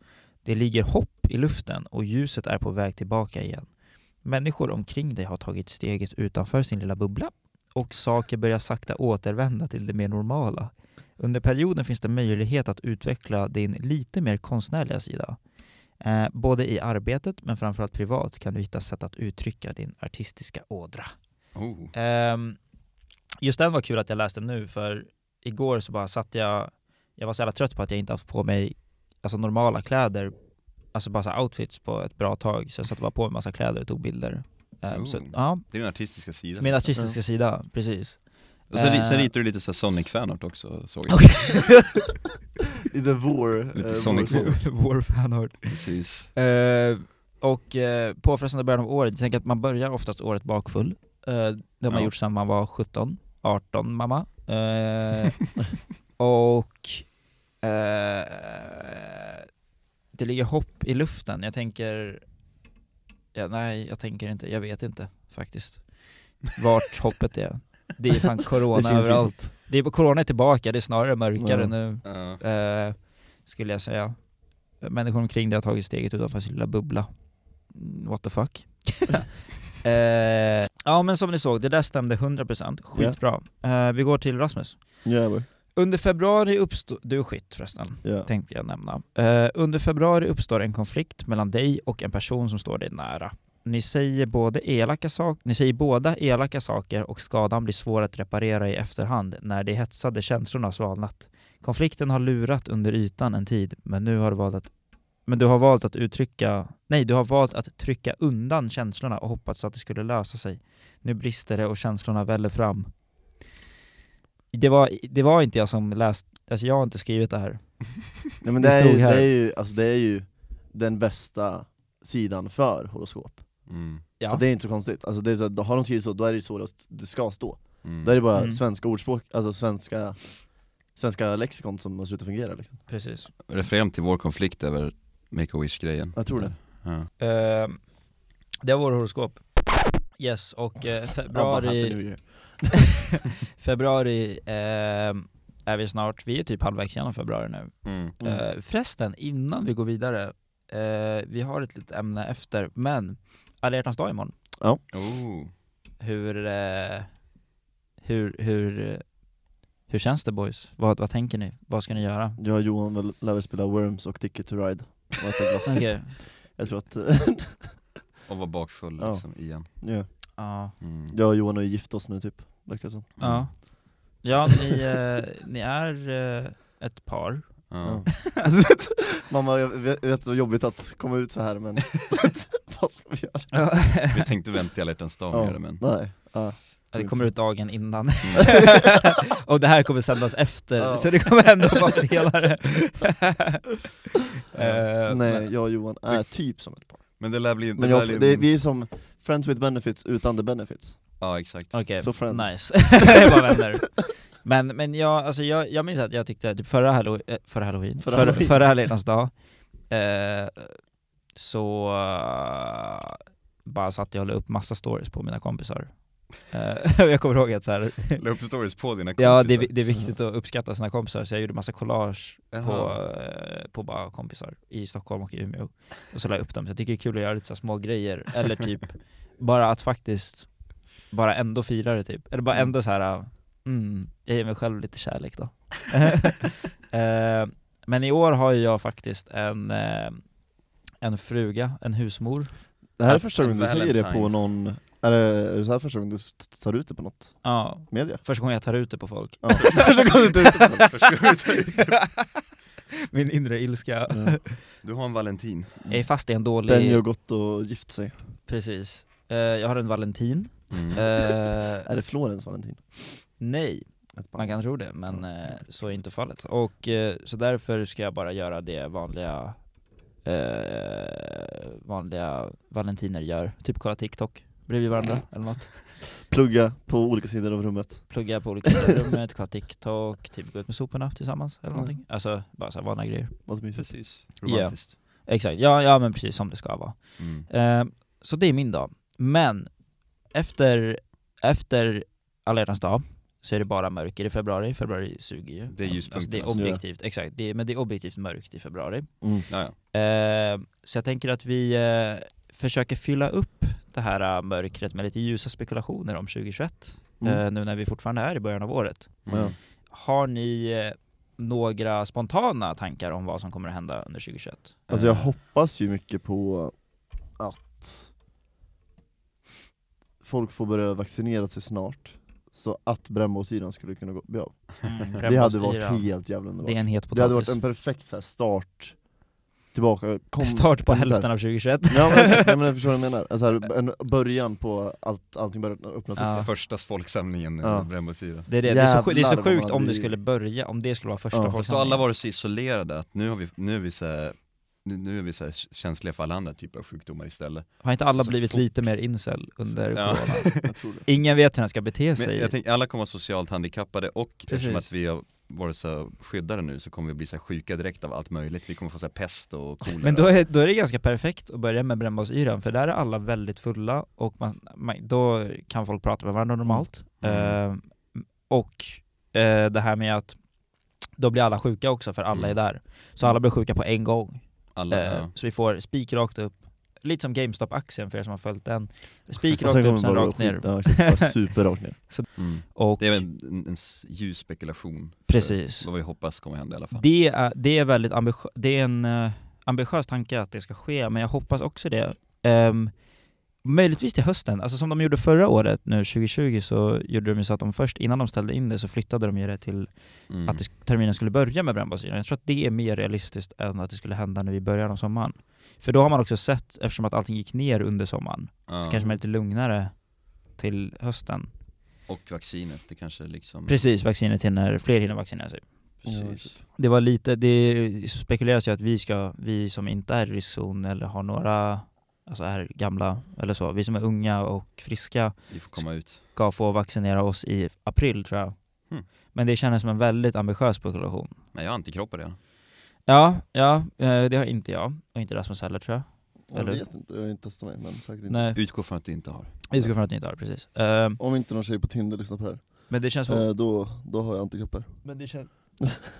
Speaker 2: Det ligger hopp i luften och ljuset är på väg tillbaka igen. Människor omkring dig har tagit steget utanför sin lilla bubbla och saker börjar sakta återvända till det mer normala. Under perioden finns det möjlighet att utveckla din lite mer konstnärliga sida. Eh, både i arbetet men framförallt privat kan du hitta sätt att uttrycka din artistiska ådra.
Speaker 3: Oh.
Speaker 2: Ehm, just den var kul att jag läste nu för igår så bara satt jag, jag var så jävla trött på att jag inte haft på mig alltså normala kläder, alltså bara så här outfits på ett bra tag så jag satte bara på mig massa kläder och tog bilder. Ehm, så,
Speaker 3: Oh.
Speaker 2: ja,
Speaker 3: Det är den artistiska sidan.
Speaker 2: min artistiska sida, precis.
Speaker 3: och sen, ri- sen
Speaker 2: eh.
Speaker 3: ritar du lite så här Sonic fanart också såg jag.
Speaker 1: I the war.
Speaker 3: Lite
Speaker 1: eh,
Speaker 3: Sonic
Speaker 1: war-
Speaker 2: Vår fanart.
Speaker 3: Precis.
Speaker 2: Eh, och eh, påfrestande början av året, jag tänker att man börjar oftast året bakfull. Eh, det har man
Speaker 3: Ja.
Speaker 2: gjort sedan man var 17, 18 mamma. Eh, och eh, det ligger hopp i luften. Jag tänker, ja, nej jag tänker inte, jag vet inte faktiskt vart hoppet är. Det är fan corona
Speaker 1: Det finns ju-
Speaker 2: överallt. Det är, corona är tillbaka, det är snarare mörkare
Speaker 1: Ja.
Speaker 2: nu
Speaker 3: Ja.
Speaker 2: eh, skulle jag säga. Människor omkring dig har tagit steget utanför sin lilla bubbla. Mm, What the fuck? eh, ja men som ni såg, det där stämde 100%. Skitbra. Eh, vi går till Rasmus.
Speaker 1: Jävlar.
Speaker 2: Under februari uppstår... Du är skit förresten,
Speaker 1: Ja.
Speaker 2: tänkte jag nämna. Eh, under februari uppstår en konflikt mellan dig och en person som står dig nära. Ni säger, både elaka sak- ni säger båda elaka saker och skadan blir svår att reparera i efterhand när de hetsade känslorna har svalnat. Konflikten har lurat under ytan en tid, men nu har du valt att men du har valt att uttrycka, nej du har valt att trycka undan känslorna och hoppats att det skulle lösa sig. Nu brister det och känslorna väller fram. Det var, det var inte jag som läste, alltså jag har inte skrivit det här.
Speaker 1: Nej, men
Speaker 2: Det
Speaker 1: det, är ju,
Speaker 2: stod här.
Speaker 1: det, är ju, alltså, det är ju den bästa sidan för horoskop.
Speaker 3: Mm.
Speaker 2: Ja.
Speaker 1: Så det är inte så konstigt. Alltså, det är så, här, då har de skrivit så, då är det ju så det- det ska stå.
Speaker 3: Mm.
Speaker 1: Där är det bara
Speaker 2: Mm.
Speaker 1: svenska ordspråk, alltså svenska, svenska lexikon som har slutat fungera liksom.
Speaker 2: Precis.
Speaker 3: Referent till vår konflikt över Make-A-Wish-grejen.
Speaker 1: Jag tror det.
Speaker 3: Ja.
Speaker 2: Eh, det var vår horoskop. Yes, och eh,
Speaker 1: Abba, Happy
Speaker 2: februari,
Speaker 1: New Year.
Speaker 2: februari ehm, är vi snart, vi är typ halvvägs igenom februari nu.
Speaker 3: Mm.
Speaker 1: Mm.
Speaker 2: Eh, förresten, innan vi går vidare, eh, vi har ett litet ämne efter, men alla hjärtans dag imorgon.
Speaker 3: Oh.
Speaker 2: Hur, eh, hur, hur, eh, hur känns det boys? Vad, vad tänker ni? Vad ska ni göra?
Speaker 1: Jag och Johan väl- lär väl spela Worms och Ticket to Ride. Och äta glass.
Speaker 2: Okej.
Speaker 1: jag tror att,
Speaker 3: Och vara bakfull
Speaker 1: Ja.
Speaker 3: liksom, igen.
Speaker 1: ja.
Speaker 2: Ja.
Speaker 3: Mm.
Speaker 1: jag och Johan har ju gift oss nu typ, verkar det som.
Speaker 2: Ja. Ja, ni, eh, ni är eh, ett par.
Speaker 3: Ja.
Speaker 1: Alltså, Mamma, jag vet jag vet att det var jobbigt att komma ut så här men vad ska vi göra?
Speaker 3: Vi tänkte vänta till alla hjärtans dag med det men...
Speaker 1: Nej, ja.
Speaker 2: Ja, det kommer ut dagen innan.
Speaker 3: Mm.
Speaker 2: och det här kommer sändas efter,
Speaker 1: Ja.
Speaker 2: så det kommer ändå vara senare. Eh,
Speaker 1: Nej, jag och Johan är typ som ett par.
Speaker 3: Men det lär bli... Det
Speaker 1: Men
Speaker 3: lär
Speaker 1: jag,
Speaker 3: bli
Speaker 1: det, är- vi är som friends with benefits utan the benefits.
Speaker 3: Ja exakt.
Speaker 2: Okej,
Speaker 1: Så friends.
Speaker 2: nice. Det var vänner. Men, men jag, alltså jag, jag minns att jag tyckte typ förra, hallo, eh, förra halloween,
Speaker 1: Förra
Speaker 2: förra, förra,
Speaker 1: halloween.
Speaker 2: alla hjärtans dag, eh, så eh, bara satt jag och la upp massa stories på mina kompisar. Eh, och jag kommer ihåg att så här,
Speaker 3: La upp stories på dina kompisar.
Speaker 2: ja, det, är vi- det är viktigt att uppskatta sina kompisar, så jag gjorde massa collage på,
Speaker 3: Jaha.
Speaker 2: eh, på bara kompisar i Stockholm och i Umeå. Och så la jag upp dem, så jag tycker det är kul att göra lite så här små grejer, eller typ bara att faktiskt bara ändå fira det typ. Eller bara
Speaker 1: Mm.
Speaker 2: ändå så här. äh, mm, jag ger mig själv lite kärlek då. Eh, Men i år har ju jag faktiskt en, eh, en fruga, en husmor.
Speaker 1: Det här är
Speaker 3: Att-
Speaker 1: första gången du säger det på
Speaker 3: Valentine.
Speaker 1: någon, är det, är det så här första gången du s- tar ut det på något
Speaker 2: Ja,
Speaker 1: media?
Speaker 2: första gången jag tar ut det på folk.
Speaker 1: Ja. första gången du tar ut det på något.
Speaker 2: Min inre ilska.
Speaker 1: Ja.
Speaker 3: Du har en Valentin.
Speaker 2: Jag är fast i en dålig...
Speaker 1: Benny har gått och gift sig.
Speaker 2: Precis. Eh, jag har en Valentin.
Speaker 3: Mm.
Speaker 2: Eh,
Speaker 1: Är det Florens Valentin?
Speaker 2: nej,
Speaker 1: Ett
Speaker 2: man
Speaker 1: band.
Speaker 2: kan tro det, men eh, så är inte fallet. Och eh, så därför ska jag bara göra det vanliga eh, vanliga valentiner gör. Typ kolla TikTok bredvid varandra eller något.
Speaker 1: Plugga på olika sidor av rummet.
Speaker 2: Plugga på olika sidor i rummet, kolla TikTok, typ gå ut med soporna tillsammans eller någonting. Alltså bara så här vanliga grejer.
Speaker 1: Låter mysigt.
Speaker 3: Precis.
Speaker 2: Ja.
Speaker 3: Romantiskt.
Speaker 2: Exakt, ja, ja men precis som det ska vara.
Speaker 3: Mm.
Speaker 2: Eh, så det är min dag. Men efter, efter alla hjärtans dag så är det bara mörker i februari, februari suger ju.
Speaker 3: Det är ljuspunkterna
Speaker 2: alltså, det är
Speaker 1: som gör.
Speaker 2: objektivt, exakt. Det är, men det är objektivt mörkt i februari.
Speaker 1: Mm.
Speaker 3: Ja, ja.
Speaker 2: Eh, så jag tänker att vi eh, försöker fylla upp det här eh, mörkret med lite ljusa spekulationer om 2021,
Speaker 1: Mm.
Speaker 2: eh, nu när vi fortfarande är i början av året.
Speaker 3: Mm.
Speaker 1: Ja.
Speaker 2: Har ni eh, några spontana tankar om vad som kommer att hända under 2021?
Speaker 1: Alltså jag
Speaker 3: Eh,
Speaker 1: hoppas ju mycket på att folk får börja vaccinera sig snart, så att brännbollsyran skulle kunna gå, bli av. Det hade varit helt jävla
Speaker 2: Eh, Det är
Speaker 1: underbart.
Speaker 2: en het
Speaker 1: Det hade varit
Speaker 2: potatis.
Speaker 1: en perfekt så här, start, tillbaka, kom,
Speaker 2: Start på
Speaker 1: kom så här.
Speaker 2: hälften av 2021.
Speaker 1: Ja men, exakt, nej, men jag förstår vad du menar, alltså, här, en början på att allting börjar öppnas upp.
Speaker 2: Ja.
Speaker 3: Första folksamlingen
Speaker 1: Ja.
Speaker 3: ja. Brännbollsyra.
Speaker 2: Det är, det. Det, är så, sju- det är
Speaker 1: Jävlar
Speaker 2: så
Speaker 1: vad
Speaker 2: sjukt
Speaker 1: man
Speaker 2: om
Speaker 1: blir-
Speaker 2: det skulle börja, om det skulle vara första
Speaker 1: Ja,
Speaker 3: Fast
Speaker 1: fast
Speaker 3: då har
Speaker 2: församlingen.
Speaker 3: alla varit så isolerade att nu har vi, nu är vi så här, nu, nu är vi så här känsliga för alla andra typer av sjukdomar istället.
Speaker 2: Har inte alla
Speaker 3: så
Speaker 2: blivit
Speaker 3: fort.
Speaker 2: lite mer incel under
Speaker 3: Ja.
Speaker 2: corona?
Speaker 1: Jag tror det.
Speaker 2: Ingen vet hur den ska bete
Speaker 3: Men
Speaker 2: sig.
Speaker 3: jag tänker, alla kommer vara socialt handikappade och eftersom
Speaker 2: Precis.
Speaker 3: att vi har varit så skyddade nu så kommer vi bli så här sjuka direkt av allt möjligt. Vi kommer få så här pest och kolera.
Speaker 2: Men då är, då är det ganska perfekt att börja med brännbollsyran, för där är alla väldigt fulla och man, man, då kan folk prata med varandra normalt.
Speaker 3: Mm.
Speaker 2: Ehm, och eh, det här med att då blir alla sjuka också för alla
Speaker 3: Mm.
Speaker 2: är där. Så alla blir sjuka på en gång.
Speaker 3: alla,
Speaker 2: Ehm,
Speaker 3: ja.
Speaker 2: Så vi får spik rakt upp, lite som GameStop-aktien för er som har följt den. Spik
Speaker 1: Och
Speaker 2: rakt
Speaker 1: Alltså, kommer
Speaker 2: upp, sen
Speaker 1: bara
Speaker 2: rakt
Speaker 1: skit-
Speaker 2: ner.
Speaker 1: Ja, exakt, bara super rakt ner.
Speaker 3: mm.
Speaker 2: Och
Speaker 3: Det är väl en, en s- ljus spekulation. för
Speaker 2: Precis.
Speaker 3: Vad vi hoppas kommer hända i alla fall.
Speaker 2: Det är, det är, väldigt ambitio- det är en eh, ambitiös tanke att det ska ske, men jag hoppas också det. Um, möjligtvis till hösten, alltså som de gjorde förra året nu 2020 så gjorde de ju så att de först, innan de ställde in det, så flyttade de ju det till
Speaker 3: Mm.
Speaker 2: att det, sk- terminen skulle börja med brännbasyran. Jag tror att det är mer realistiskt än att det skulle hända nu i början av sommaren. För då har man också sett, eftersom att allting gick ner under sommaren,
Speaker 3: ja. Mm.
Speaker 2: så kanske man är lite lugnare till hösten.
Speaker 3: Och vaccinet, det kanske liksom...
Speaker 2: Precis, vaccinet hinner, fler hinner vaccinera sig.
Speaker 3: Precis.
Speaker 2: Det var lite, det spekuleras ju att vi ska, vi som inte är i riskzon eller har några alltså är gamla eller så, vi som är unga och friska
Speaker 3: Vi får komma ut.
Speaker 2: ska få vaccinera oss i april tror jag.
Speaker 3: Hmm.
Speaker 2: Men det kändes som en väldigt ambitiös population.
Speaker 3: Nej, jag har antikroppar redan.
Speaker 2: Ja, ja, eh, det har inte jag och inte Rasmus heller tror jag.
Speaker 1: Jag
Speaker 2: Eller-
Speaker 1: vet inte, jag har inte testat mig men säkert inte.
Speaker 2: Nej,
Speaker 3: Utgå från att du inte har.
Speaker 2: jag utgår från att ni inte har det, precis. Eh,
Speaker 1: Om inte någon tjej på Tinder lyssnar på det här,
Speaker 2: Men det känns som...
Speaker 1: eh, då, då har jag antikroppar.
Speaker 2: Men det känns...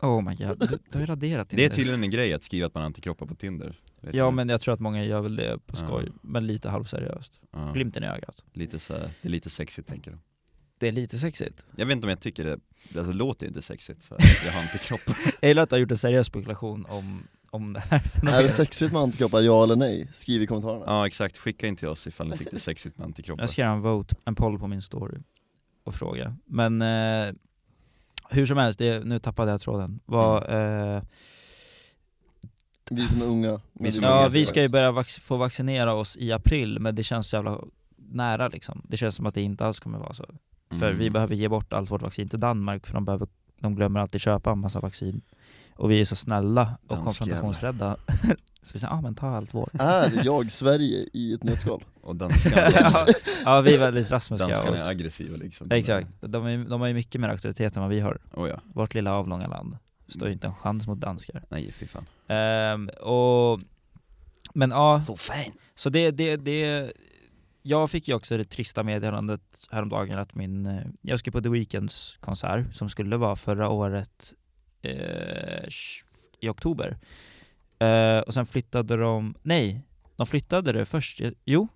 Speaker 2: Oh my god, du, du har ju raderat
Speaker 3: Det är
Speaker 2: Tinder.
Speaker 3: tydligen en grej att skriva att man har antikroppar på Tinder. Vet
Speaker 2: Ja
Speaker 3: du?
Speaker 2: men jag tror att många gör väl det på
Speaker 3: Ja.
Speaker 2: skoj, men lite halvseriöst.
Speaker 3: Ja,
Speaker 2: Glimten i ögat.
Speaker 3: lite så här, det är lite sexigt tänker de.
Speaker 2: Det är lite sexigt.
Speaker 3: Jag vet inte om jag tycker det, alltså, det låter ju inte sexigt så här. jag har antikroppar.
Speaker 2: Jag gillar att du har gjort en seriös spekulation om, om det här
Speaker 1: Är det
Speaker 2: fenomenet.
Speaker 1: sexigt med antikroppar, ja eller nej? Skriv i kommentarerna.
Speaker 3: Ja exakt, skicka in till oss ifall ni tyckte det är sexigt med antikroppar.
Speaker 2: Jag ska göra en vote, en poll på min story och fråga. Men eh, hur som helst, det, nu tappade jag tråden. Vad,
Speaker 3: Mm.
Speaker 2: eh,
Speaker 1: Vi som är unga. men
Speaker 3: som är
Speaker 2: ja,
Speaker 3: unga,
Speaker 2: vi ska ju börja vax- få vaccinera oss i april, men det känns så jävla nära liksom. Det känns som att det inte alls kommer vara så. För
Speaker 3: Mm.
Speaker 2: vi behöver ge bort allt vårt vaccin till Danmark för de, behöver, de glömmer alltid köpa en massa vaccin. Och vi är så snälla och
Speaker 3: Dansk
Speaker 2: konfrontationsrädda. så vi säger ja ah, men ta allt vårt.
Speaker 1: Är jag Sverige i ett nötskal?
Speaker 3: Och danskarna,
Speaker 2: ja vi är väldigt rasmuska.
Speaker 3: danskarna är
Speaker 2: Och,
Speaker 3: aggressiva liksom.
Speaker 2: exakt, de, är, de har ju mycket mer auktoritet än vad vi har.
Speaker 3: Oh, ja.
Speaker 2: Vårt lilla avlånga land står ju inte en chans mot danskar.
Speaker 3: Nej fy fan.
Speaker 2: Ehm, och, men ja,
Speaker 3: Oh, fan.
Speaker 2: så det, det, det jag fick ju också det trista meddelandet häromdagen att min, eh, jag skulle på The Weeknds konsert som skulle vara förra året eh, sh- i oktober. Eh, och sen flyttade de, nej, de flyttade det först, eh, jo,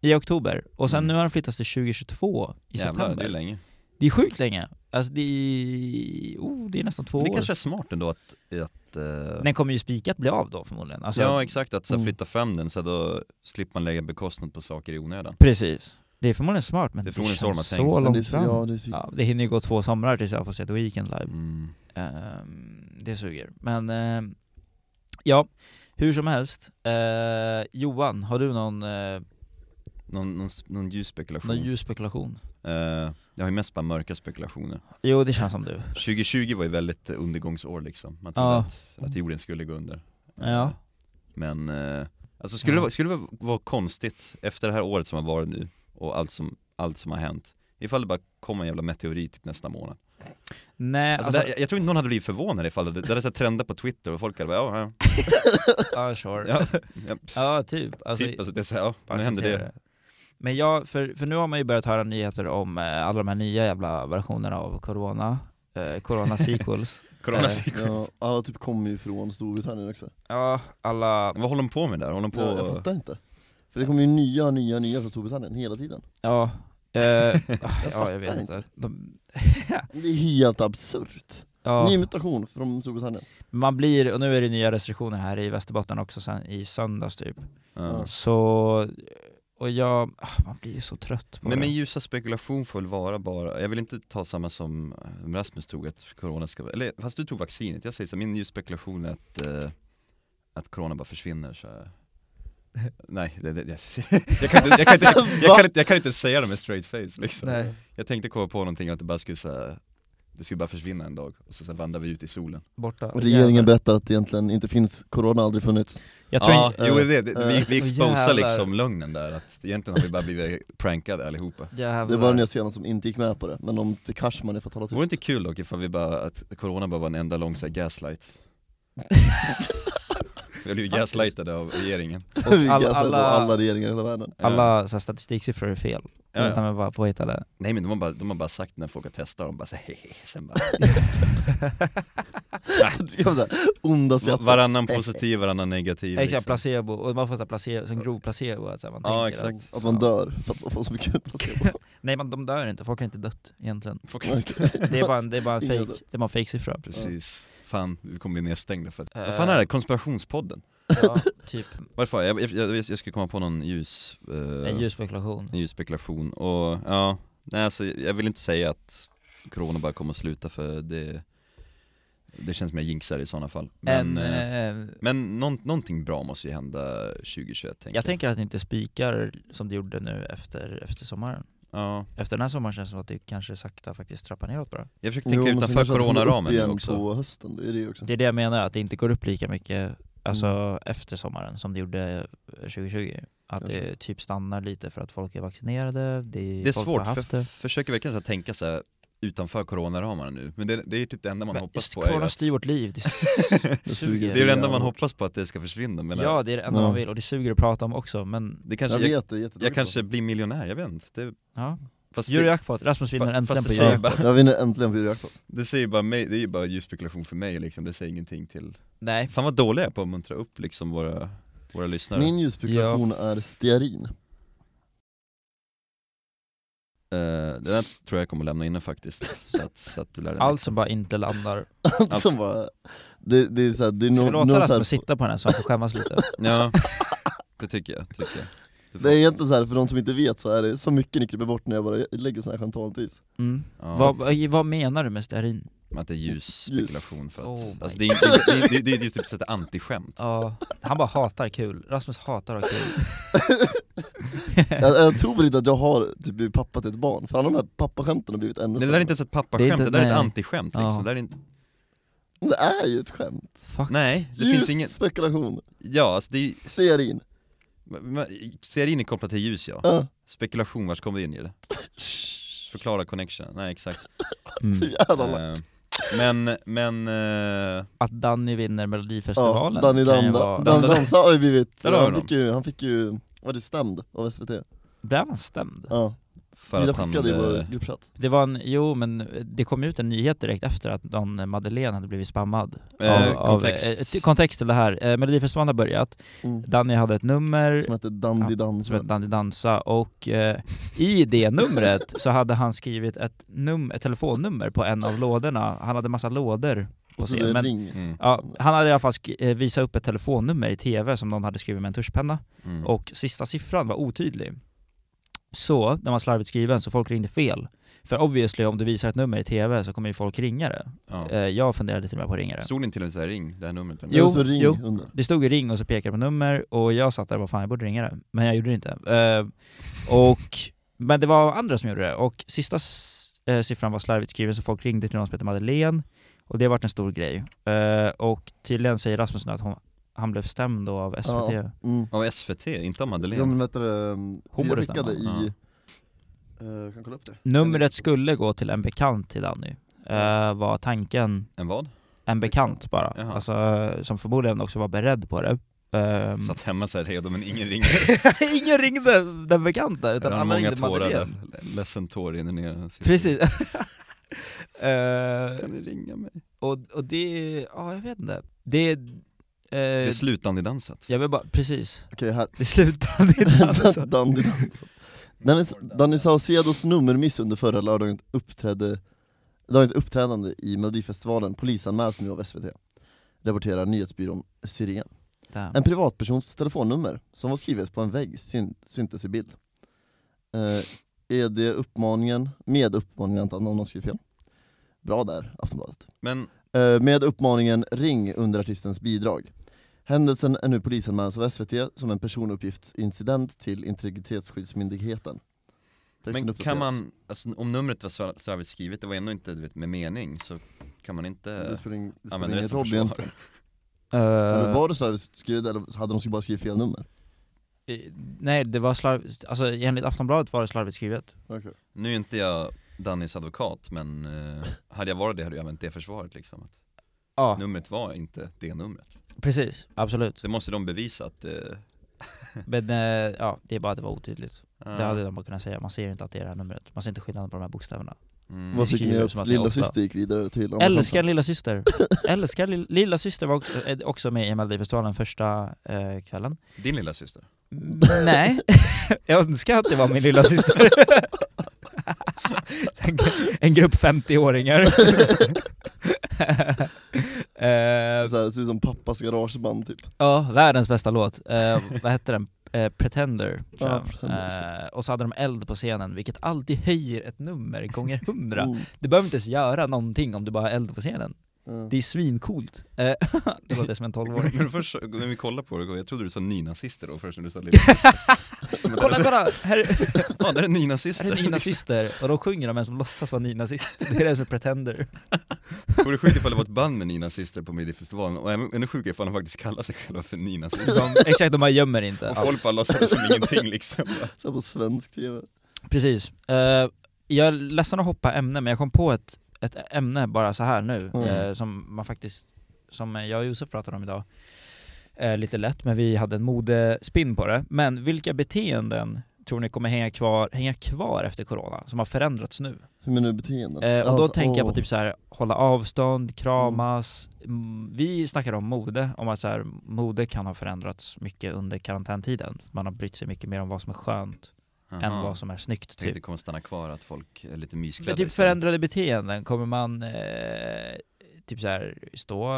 Speaker 2: i oktober. Och sen
Speaker 3: Mm.
Speaker 2: nu har de flyttats till
Speaker 3: Jävlar,
Speaker 2: 2022 i
Speaker 3: det
Speaker 2: september.
Speaker 3: är länge.
Speaker 2: Det är sjukt länge. Alltså det är, oh, det är nästan två
Speaker 3: Men det
Speaker 2: år.
Speaker 3: kanske är smart ändå att, att eh,
Speaker 2: Den kommer ju spikat bli av då förmodligen. Alltså,
Speaker 3: ja exakt, att så här,
Speaker 1: Mm.
Speaker 3: flytta fram den så här, då slipper man lägga bekostnad på saker i onödan.
Speaker 2: Precis. Det är förmodligen smart men
Speaker 3: Det är
Speaker 2: det,
Speaker 3: förmodligen så de har
Speaker 2: känns så,
Speaker 3: tänkt.
Speaker 1: Men det är
Speaker 2: långt
Speaker 1: så,
Speaker 2: fram.
Speaker 1: ja,
Speaker 2: Ja.
Speaker 1: det är så,
Speaker 2: det hinner ju gå två somrar tills jag får se The Weeknd live.
Speaker 3: Mm.
Speaker 2: Ehm, det suger. Men ehm, ja, hur som helst. Eh, Johan, har du någon, uh,
Speaker 3: Någon, någon, s- någon ljus spekulation.
Speaker 2: någon ljus spekulation?
Speaker 3: Eh, jag har ju mest bara mörka spekulationer.
Speaker 2: Jo det känns som du.
Speaker 3: 2020 var ju väldigt eh, undergångsår liksom. Man trodde
Speaker 2: Ja. Mm.
Speaker 3: att, att jorden skulle gå under. Eh,
Speaker 2: Ja.
Speaker 3: Men, eh, alltså skulle, det
Speaker 2: Ja.
Speaker 3: vara- skulle det vara- vara konstigt efter det här året som har varit nu och allt som, allt som har hänt, ifall det bara kom en jävla meteorit typ nästa månad.
Speaker 2: Nej,
Speaker 3: Alltså,
Speaker 2: alltså,
Speaker 3: det- jag, jag tror inte någon hade blivit förvånad ifall det, det hade så här trender på Twitter och folk hade bara ja, ja,
Speaker 2: ja, sure.
Speaker 3: ja, ja
Speaker 2: ja typ. Alltså,
Speaker 3: typ, alltså, det är så här, ja, nu händer
Speaker 2: acceptera
Speaker 3: det.
Speaker 2: Men ja, för, för nu har man ju börjat höra nyheter om eh, alla de här nya jävla versionerna av corona, eh, corona sequels.
Speaker 3: Corona
Speaker 1: ja, alla typ kommer ju från Storbritannien också.
Speaker 2: ja, alla,
Speaker 3: Vad håller de på med där? Håller de på...
Speaker 1: Ja, jag fattar inte. För det kommer ju nya, nya, nya från Storbritannien hela tiden.
Speaker 2: ja. Eh, jag ja,
Speaker 1: fattar
Speaker 2: jag vet
Speaker 1: inte.
Speaker 2: inte. De,
Speaker 1: Det är helt absurt.
Speaker 2: ja,
Speaker 1: Ny mutation från Storbritannien.
Speaker 2: man blir, och nu är det nya restriktioner här i Västerbotten också sen i söndags typ.
Speaker 3: Ja.
Speaker 2: Så, och jag, ah, man blir ju så trött på
Speaker 3: Men
Speaker 2: det.
Speaker 3: min ljusa spekulation får väl vara bara, jag vill inte ta samma som eh, Rasmus tog att corona ska, eller fast du tog vaccinet, jag säger så, här, min ljusa spekulation är att, eh, att corona bara försvinner så här. Nej, det, det, det, jag, kan inte, jag, kan inte, jag, kan inte, jag, kan inte, jag kan inte säga det med straight face liksom.
Speaker 2: Nej.
Speaker 3: Jag tänkte komma på någonting att det bara skulle så här, det skulle bara försvinna en dag, och så, så här, vandrar vi ut i solen.
Speaker 2: Borta.
Speaker 1: Och regeringen berättar att det egentligen inte finns, corona har aldrig funnits.
Speaker 2: Jag tror
Speaker 3: ja,
Speaker 2: inte- Eh,
Speaker 3: jo, det, det, vi, vi
Speaker 2: Åh,
Speaker 3: exposar
Speaker 2: jävlar.
Speaker 3: liksom lögnen där, att egentligen har vi bara blivit prankade allihopa.
Speaker 1: Det var
Speaker 2: Jävlar.
Speaker 1: den jag senast som inte gick med på det, men om det Cashman är för att
Speaker 2: Alltså,
Speaker 1: hålla
Speaker 3: Vore det
Speaker 1: tyst.
Speaker 3: inte kul dock ifall vi bara, att corona bara var en enda lång så här, gaslight? Vi har blivit
Speaker 2: Faktiskt.
Speaker 3: gaslightade av regeringen
Speaker 1: Vilka
Speaker 2: alla-
Speaker 1: alla, alla,
Speaker 2: alla-
Speaker 1: alla regeringar i hela världen.
Speaker 3: Ja.
Speaker 2: Alla Mm. så här, statistiksiffror är fel.
Speaker 3: Ja, ja.
Speaker 2: Utan man bara påhittade.
Speaker 3: Nej men de har bara, de har bara sagt när folk har testat, de bara så här, hehehe, sen bara
Speaker 2: Alltså,
Speaker 1: Det var så här, Onda skrattet.
Speaker 3: Varannan positiv, varannan negativ
Speaker 2: Exakt, placebo, och man får så här placebo, som grov placebo, att så här, man
Speaker 3: Ja,
Speaker 2: tänker
Speaker 3: exakt.
Speaker 1: Att man dör för att man får så mycket placebo.
Speaker 2: att, Nej men de dör inte, folk har inte dött egentligen
Speaker 3: Folk har inte-
Speaker 2: Det är bara en, det är bara en
Speaker 1: Ingen
Speaker 2: fake,
Speaker 1: dött.
Speaker 2: det är bara en fake siffra
Speaker 3: Precis, fan vi kommer bli nedstängda för att
Speaker 2: Eh.
Speaker 3: Vad fan är det? Konspirationspodden?
Speaker 2: Ja, typ,
Speaker 3: Varför? Jag, jag, jag, jag skulle komma på någon ljus, eh,
Speaker 2: en ljus spekulation
Speaker 3: en ljus spekulation och ja, nej alltså jag vill inte säga att corona bara kommer att sluta för det det känns som jag jinxar i sådana fall
Speaker 2: En,
Speaker 3: Men, eh,
Speaker 2: eh,
Speaker 3: Men någon, någonting bra måste ju hända 2021 tänker
Speaker 2: jag tänker att det inte spikar som det gjorde nu efter, efter sommaren
Speaker 3: Ja,
Speaker 2: Efter den här sommaren känns det som att det kanske sakta faktiskt trappar neråt bara
Speaker 3: jag försöker
Speaker 1: Jo,
Speaker 3: tänka
Speaker 1: men sen
Speaker 3: typ utanför
Speaker 1: kanske att det kommer upp
Speaker 3: coronaramen nu
Speaker 1: igen
Speaker 3: också
Speaker 1: på hösten, det är det också.
Speaker 2: Det är det jag menar, att det inte går upp lika mycket alltså
Speaker 3: Mm.
Speaker 2: efter sommaren som det gjorde 2020. Att det typ stannar lite för att folk är vaccinerade, det är,
Speaker 3: Det är
Speaker 2: folk
Speaker 3: svårt,
Speaker 2: har
Speaker 3: för
Speaker 2: haft det.
Speaker 3: försöker verkligen så här, tänka så här, utanför coronaramarna nu, men det, det är typ det enda man
Speaker 2: Men
Speaker 3: hoppas på är
Speaker 2: corona
Speaker 3: att-
Speaker 2: styr vårt liv, det
Speaker 1: Det
Speaker 2: suger.
Speaker 1: suger.
Speaker 3: Det är det enda
Speaker 1: Ja,
Speaker 3: man
Speaker 1: hårt.
Speaker 3: hoppas på att det ska försvinna, men
Speaker 2: ja, det är det enda
Speaker 1: Ja.
Speaker 2: man vill och det suger att prata om också men
Speaker 3: det
Speaker 1: Jag
Speaker 3: kanske, jag, jag,
Speaker 1: vet det, jättetråkigt.
Speaker 3: kanske blir miljonär, jag vet inte det,
Speaker 2: ja.
Speaker 3: fast det,
Speaker 2: Eurojackpot, Rasmus vinner
Speaker 3: fa-
Speaker 2: äntligen
Speaker 3: fast
Speaker 2: på
Speaker 3: det säger,
Speaker 2: Eurojackpot.
Speaker 3: bara,
Speaker 1: Jag vinner äntligen videojackpot.
Speaker 3: det säger bara mig, det är ju bara djup spekulation för mig liksom, det säger ingenting till
Speaker 2: Nej,
Speaker 3: Fan vad dåliga jag är på att muntra upp liksom våra, våra lyssnare
Speaker 1: Min ljusspekulation är stearin.
Speaker 3: Eh, Det där tror jag kommer lämna inne faktiskt, så att, så att du lär dig
Speaker 2: allt som bara inte landar.
Speaker 1: Allt
Speaker 3: Alltså.
Speaker 1: som bara... Det, det är såhär, det är
Speaker 2: Ska vi
Speaker 1: någon,
Speaker 2: låta
Speaker 1: någon så här-
Speaker 2: Rasmus sitta på den här så han får skämmas lite?
Speaker 3: Ja, det tycker jag, tycker jag Du får-
Speaker 1: Det är egentligen så här, för de som inte vet så är det så mycket ni klipper bort när jag bara lägger såna här skämt vanligtvis.
Speaker 2: Mm.
Speaker 3: ja,
Speaker 2: Vad, vad menar du med stearin?
Speaker 3: men Att det är ljus spekulation för att,
Speaker 2: Oh my
Speaker 3: alltså, det, är, det, är- det, är- det är just typ ett antiskämt
Speaker 2: Ja, han bara hatar kul, Rasmus hatar att ha kul.
Speaker 1: jag, jag tror inte att jag har typ blivit pappa till ett barn, för alla de här pappaskämten har blivit ännu
Speaker 3: Det där är inte ens ett
Speaker 2: Det är
Speaker 3: pappaskämt,
Speaker 2: inte-
Speaker 3: det, där är ett
Speaker 2: nej.
Speaker 3: antiskämt liksom,
Speaker 2: Ja.
Speaker 3: det där är inte,
Speaker 1: Det är ju ett skämt!
Speaker 2: Fuck.
Speaker 3: nej, det
Speaker 1: Ljus
Speaker 3: finns ingen,
Speaker 1: spekulation,
Speaker 3: ja alltså det är ju-
Speaker 1: stearin.
Speaker 3: men- men- ser in i kopplat till ljus ja,
Speaker 1: Ja.
Speaker 3: spekulation, vars kommer det in i det? Förklara connection, nej exakt
Speaker 1: Så
Speaker 2: Mm.
Speaker 1: jävla lack.
Speaker 3: Eh, Men, men, eh,
Speaker 2: Att Danny vinner melodifestivalen
Speaker 1: ja, Danny
Speaker 2: kan ju
Speaker 1: Danda,
Speaker 2: vara...
Speaker 1: Dan Dansa har ju blivit,
Speaker 3: Där har vi
Speaker 1: han fick, ju, han fick ju, var du stämd av SVT?
Speaker 2: Blev han stämd?
Speaker 1: Ja,
Speaker 3: för
Speaker 1: Frida
Speaker 3: att han,
Speaker 1: skickade i
Speaker 3: eh,
Speaker 1: vår gruppchatt
Speaker 2: Det var en, jo men det kom ut en nyhet direkt efter att någon Madeleine hade blivit spammad
Speaker 3: Eh,
Speaker 2: av,
Speaker 3: kontext.
Speaker 2: Av, eh, t- kontext till det här, eh, Melodifestivalen har börjat,
Speaker 1: mm.
Speaker 2: Danny hade ett nummer
Speaker 1: Som hette Dandy
Speaker 2: som hette
Speaker 1: Dansa,
Speaker 2: Danny Dansa och eh, i det numret så hade han skrivit ett, num- ett telefonnummer på en av lådorna, han hade massa lådor på
Speaker 1: och så
Speaker 2: scen
Speaker 1: är det
Speaker 2: men,
Speaker 1: ring
Speaker 3: Mm,
Speaker 2: ja, han hade i alla fall sk- eh, visat upp ett telefonnummer i tv som någon hade skrivit med en tuschpenna
Speaker 3: mm.
Speaker 2: och sista siffran var otydlig. Så, den var slarvigt skriven, så folk ringde fel. För obviously, om du visar ett nummer i TV så kommer ju folk ringa det.
Speaker 3: ja.
Speaker 2: Eh, Jag funderade till och med på att ringa det.
Speaker 3: Stod det inte till och med såhär ring, det här numret? eller?
Speaker 1: Jo,
Speaker 2: Jo,
Speaker 1: och så ring
Speaker 2: jo.
Speaker 1: under
Speaker 2: Det stod ju ring och så pekade på nummer och jag satt där och bara fan jag borde ringa det. Men jag gjorde det inte. Eh, och, men det var andra som gjorde det. Och sista s- eh, siffran var slarvigt skriven så folk ringde till någon som heter Madeleine. Och det har varit en stor grej. Eh, och tydligen säger Rasmus nu att hon, han blev stämd då av SVT.
Speaker 1: mm.
Speaker 3: Av SVT, inte av
Speaker 1: Ja
Speaker 3: Madeleine?
Speaker 1: men vet du det,
Speaker 2: borde
Speaker 1: Frida skickade i,
Speaker 3: stämma,
Speaker 1: eh, kan kolla upp det?
Speaker 2: Numret skulle gå till en bekant till Danny, eh, var tanken.
Speaker 3: En vad?
Speaker 2: En bekant bara,
Speaker 3: Jaha.
Speaker 2: alltså, eh, som förmodligen också var beredd på det. Ehm,
Speaker 3: Satt hemma såhär redo men ingen ringer
Speaker 2: ingen ringde den bekanta, utan
Speaker 3: Han har
Speaker 2: alla
Speaker 3: många
Speaker 2: ringde
Speaker 3: tårar
Speaker 2: Madeleine.
Speaker 3: där, L- ledsen tår rinner ner hans huvud.
Speaker 2: Precis. Eh,
Speaker 3: Kan ni ringa mig?
Speaker 2: och, och det, ja jag vet inte. Det, eh,
Speaker 3: Det är slutande dansat
Speaker 2: jag vill bara, precis.
Speaker 1: Okej här,
Speaker 2: Det slutade i dansen.
Speaker 1: Dandy Dansa Danny, Danny Saucedos nummermiss under förra lördagen uppträdde Dagens uppträdande i Melodifestivalen polisanmäls nu av SVT Rapporterar nyhetsbyrån Siren
Speaker 2: Damn.
Speaker 1: En privatpersons telefonnummer som var skrivet på en vägg syn syntes i bild. Eh, är det uppmaningen, med uppmaningen antar jag, någon har skrivit fel. Bra där, Aftonbladet.
Speaker 3: Men,
Speaker 1: Eh, med uppmaningen ring under artistens bidrag. Händelsen är nu polisanmäld av SVT som en personuppgiftsincident till Integritetsskyddsmyndigheten. Texten
Speaker 3: men kan
Speaker 1: uppdateras.
Speaker 3: man, alltså, om numret var slar- slarvigt skrivet, det var ändå inte du vet, med mening, så kan man
Speaker 1: Det
Speaker 3: inte
Speaker 1: spelar ing- det spelar
Speaker 3: använda eh, det
Speaker 1: ingen
Speaker 3: som
Speaker 1: roll egentligen.
Speaker 3: försvar?
Speaker 1: Eller
Speaker 2: Eh,
Speaker 1: var det så här skrivet eller hade de bara skrivit fel nummer?
Speaker 2: i- nej, det var slarvigt, alltså enligt Aftonbladet var det slarvigt skrivet.
Speaker 1: Okej.
Speaker 3: Nu är inte jag Dannys advokat, men eh, hade jag varit det hade jag använt det försvaret liksom att
Speaker 2: Ja,
Speaker 3: Numret var inte det numret
Speaker 2: precis, absolut.
Speaker 3: Så det måste de bevisa att eh,
Speaker 2: Men eh, ja, det är bara att det var otydligt. Det
Speaker 3: ah,
Speaker 2: hade de bara kunnat säga, man ser inte att det är det här numret. Man ser inte skillnaden på de här bokstäverna.
Speaker 3: mm.
Speaker 1: Vad tycker ni
Speaker 2: Skriver som
Speaker 1: att
Speaker 2: att det är
Speaker 1: lilla
Speaker 2: ofta.
Speaker 1: syster gick vidare till? andra
Speaker 2: Älskar lilla syster. Älskar li- lilla syster var också, är också med i Melodifestivalen första eh, kvällen.
Speaker 3: Din lilla syster
Speaker 2: Nej, jag önskar att det var min lilla syster. en, en grupp 50-åringar. eh,
Speaker 1: chansen? Så här, det ser ut som pappas garageband typ.
Speaker 2: ja, världens bästa låt. Eh, vad hette den? Eh, Pretender.
Speaker 1: Ja,
Speaker 2: tror jag.
Speaker 1: Pretender, exakt.
Speaker 2: eh, och så hade de eld på scenen, vilket alltid höjer ett nummer gånger hundra.
Speaker 1: Mm.
Speaker 2: Du behöver inte ens göra någonting om du bara har eld på scenen.
Speaker 1: Ja.
Speaker 2: Det är svincoolt. Eh, det låter som en tolvåring.
Speaker 3: Men först, så- när vi kollade på det, jag trodde du sa nynazister då först när du sa lillnazister.
Speaker 2: kolla, kolla! Här
Speaker 3: Ja, där är
Speaker 2: är
Speaker 3: nynazister.
Speaker 2: det nynazister, och de sjunger om en som låtsas vara nynazister. Det är det som är pretender.
Speaker 3: Vore sjukt ifall det var ett band med nynazister på Melodifestivalen, och även- ännu sjukare ifall de faktiskt kallar sig själva för nynazister.
Speaker 2: De, exakt, de bara gömmer inte.
Speaker 3: Och
Speaker 2: alls.
Speaker 3: folk bara låtsades som ingenting liksom.
Speaker 1: Så här på svensk tv.
Speaker 2: Precis. Eh, jag är ledsen att hoppa ämne, men jag kom på ett, ett ämne bara så här nu,
Speaker 1: Mm.
Speaker 2: eh, som man faktiskt, som jag och Josef pratade om idag, eh, lite lätt, men vi hade en modespinn på det. Men vilka beteenden tror ni kommer hänga kvar, hänga kvar efter corona, som har förändrats nu?
Speaker 1: Hur menar du beteenden?
Speaker 2: Eh, och då
Speaker 1: Alltså,
Speaker 2: tänker jag på
Speaker 1: åh.
Speaker 2: typ så här hålla avstånd, kramas. Mm. Vi snackade om mode, om att så här, mode kan ha förändrats mycket under karantäntiden. Man har brytt sig mycket mer om vad som är skönt än vad som är snyggt.
Speaker 3: Typ.
Speaker 2: Typ.
Speaker 3: Det kommer stanna kvar att folk är lite
Speaker 2: Men
Speaker 3: mysklädda
Speaker 2: typ
Speaker 3: istället.
Speaker 2: förändrade beteenden, kommer man eh, typ så här stå,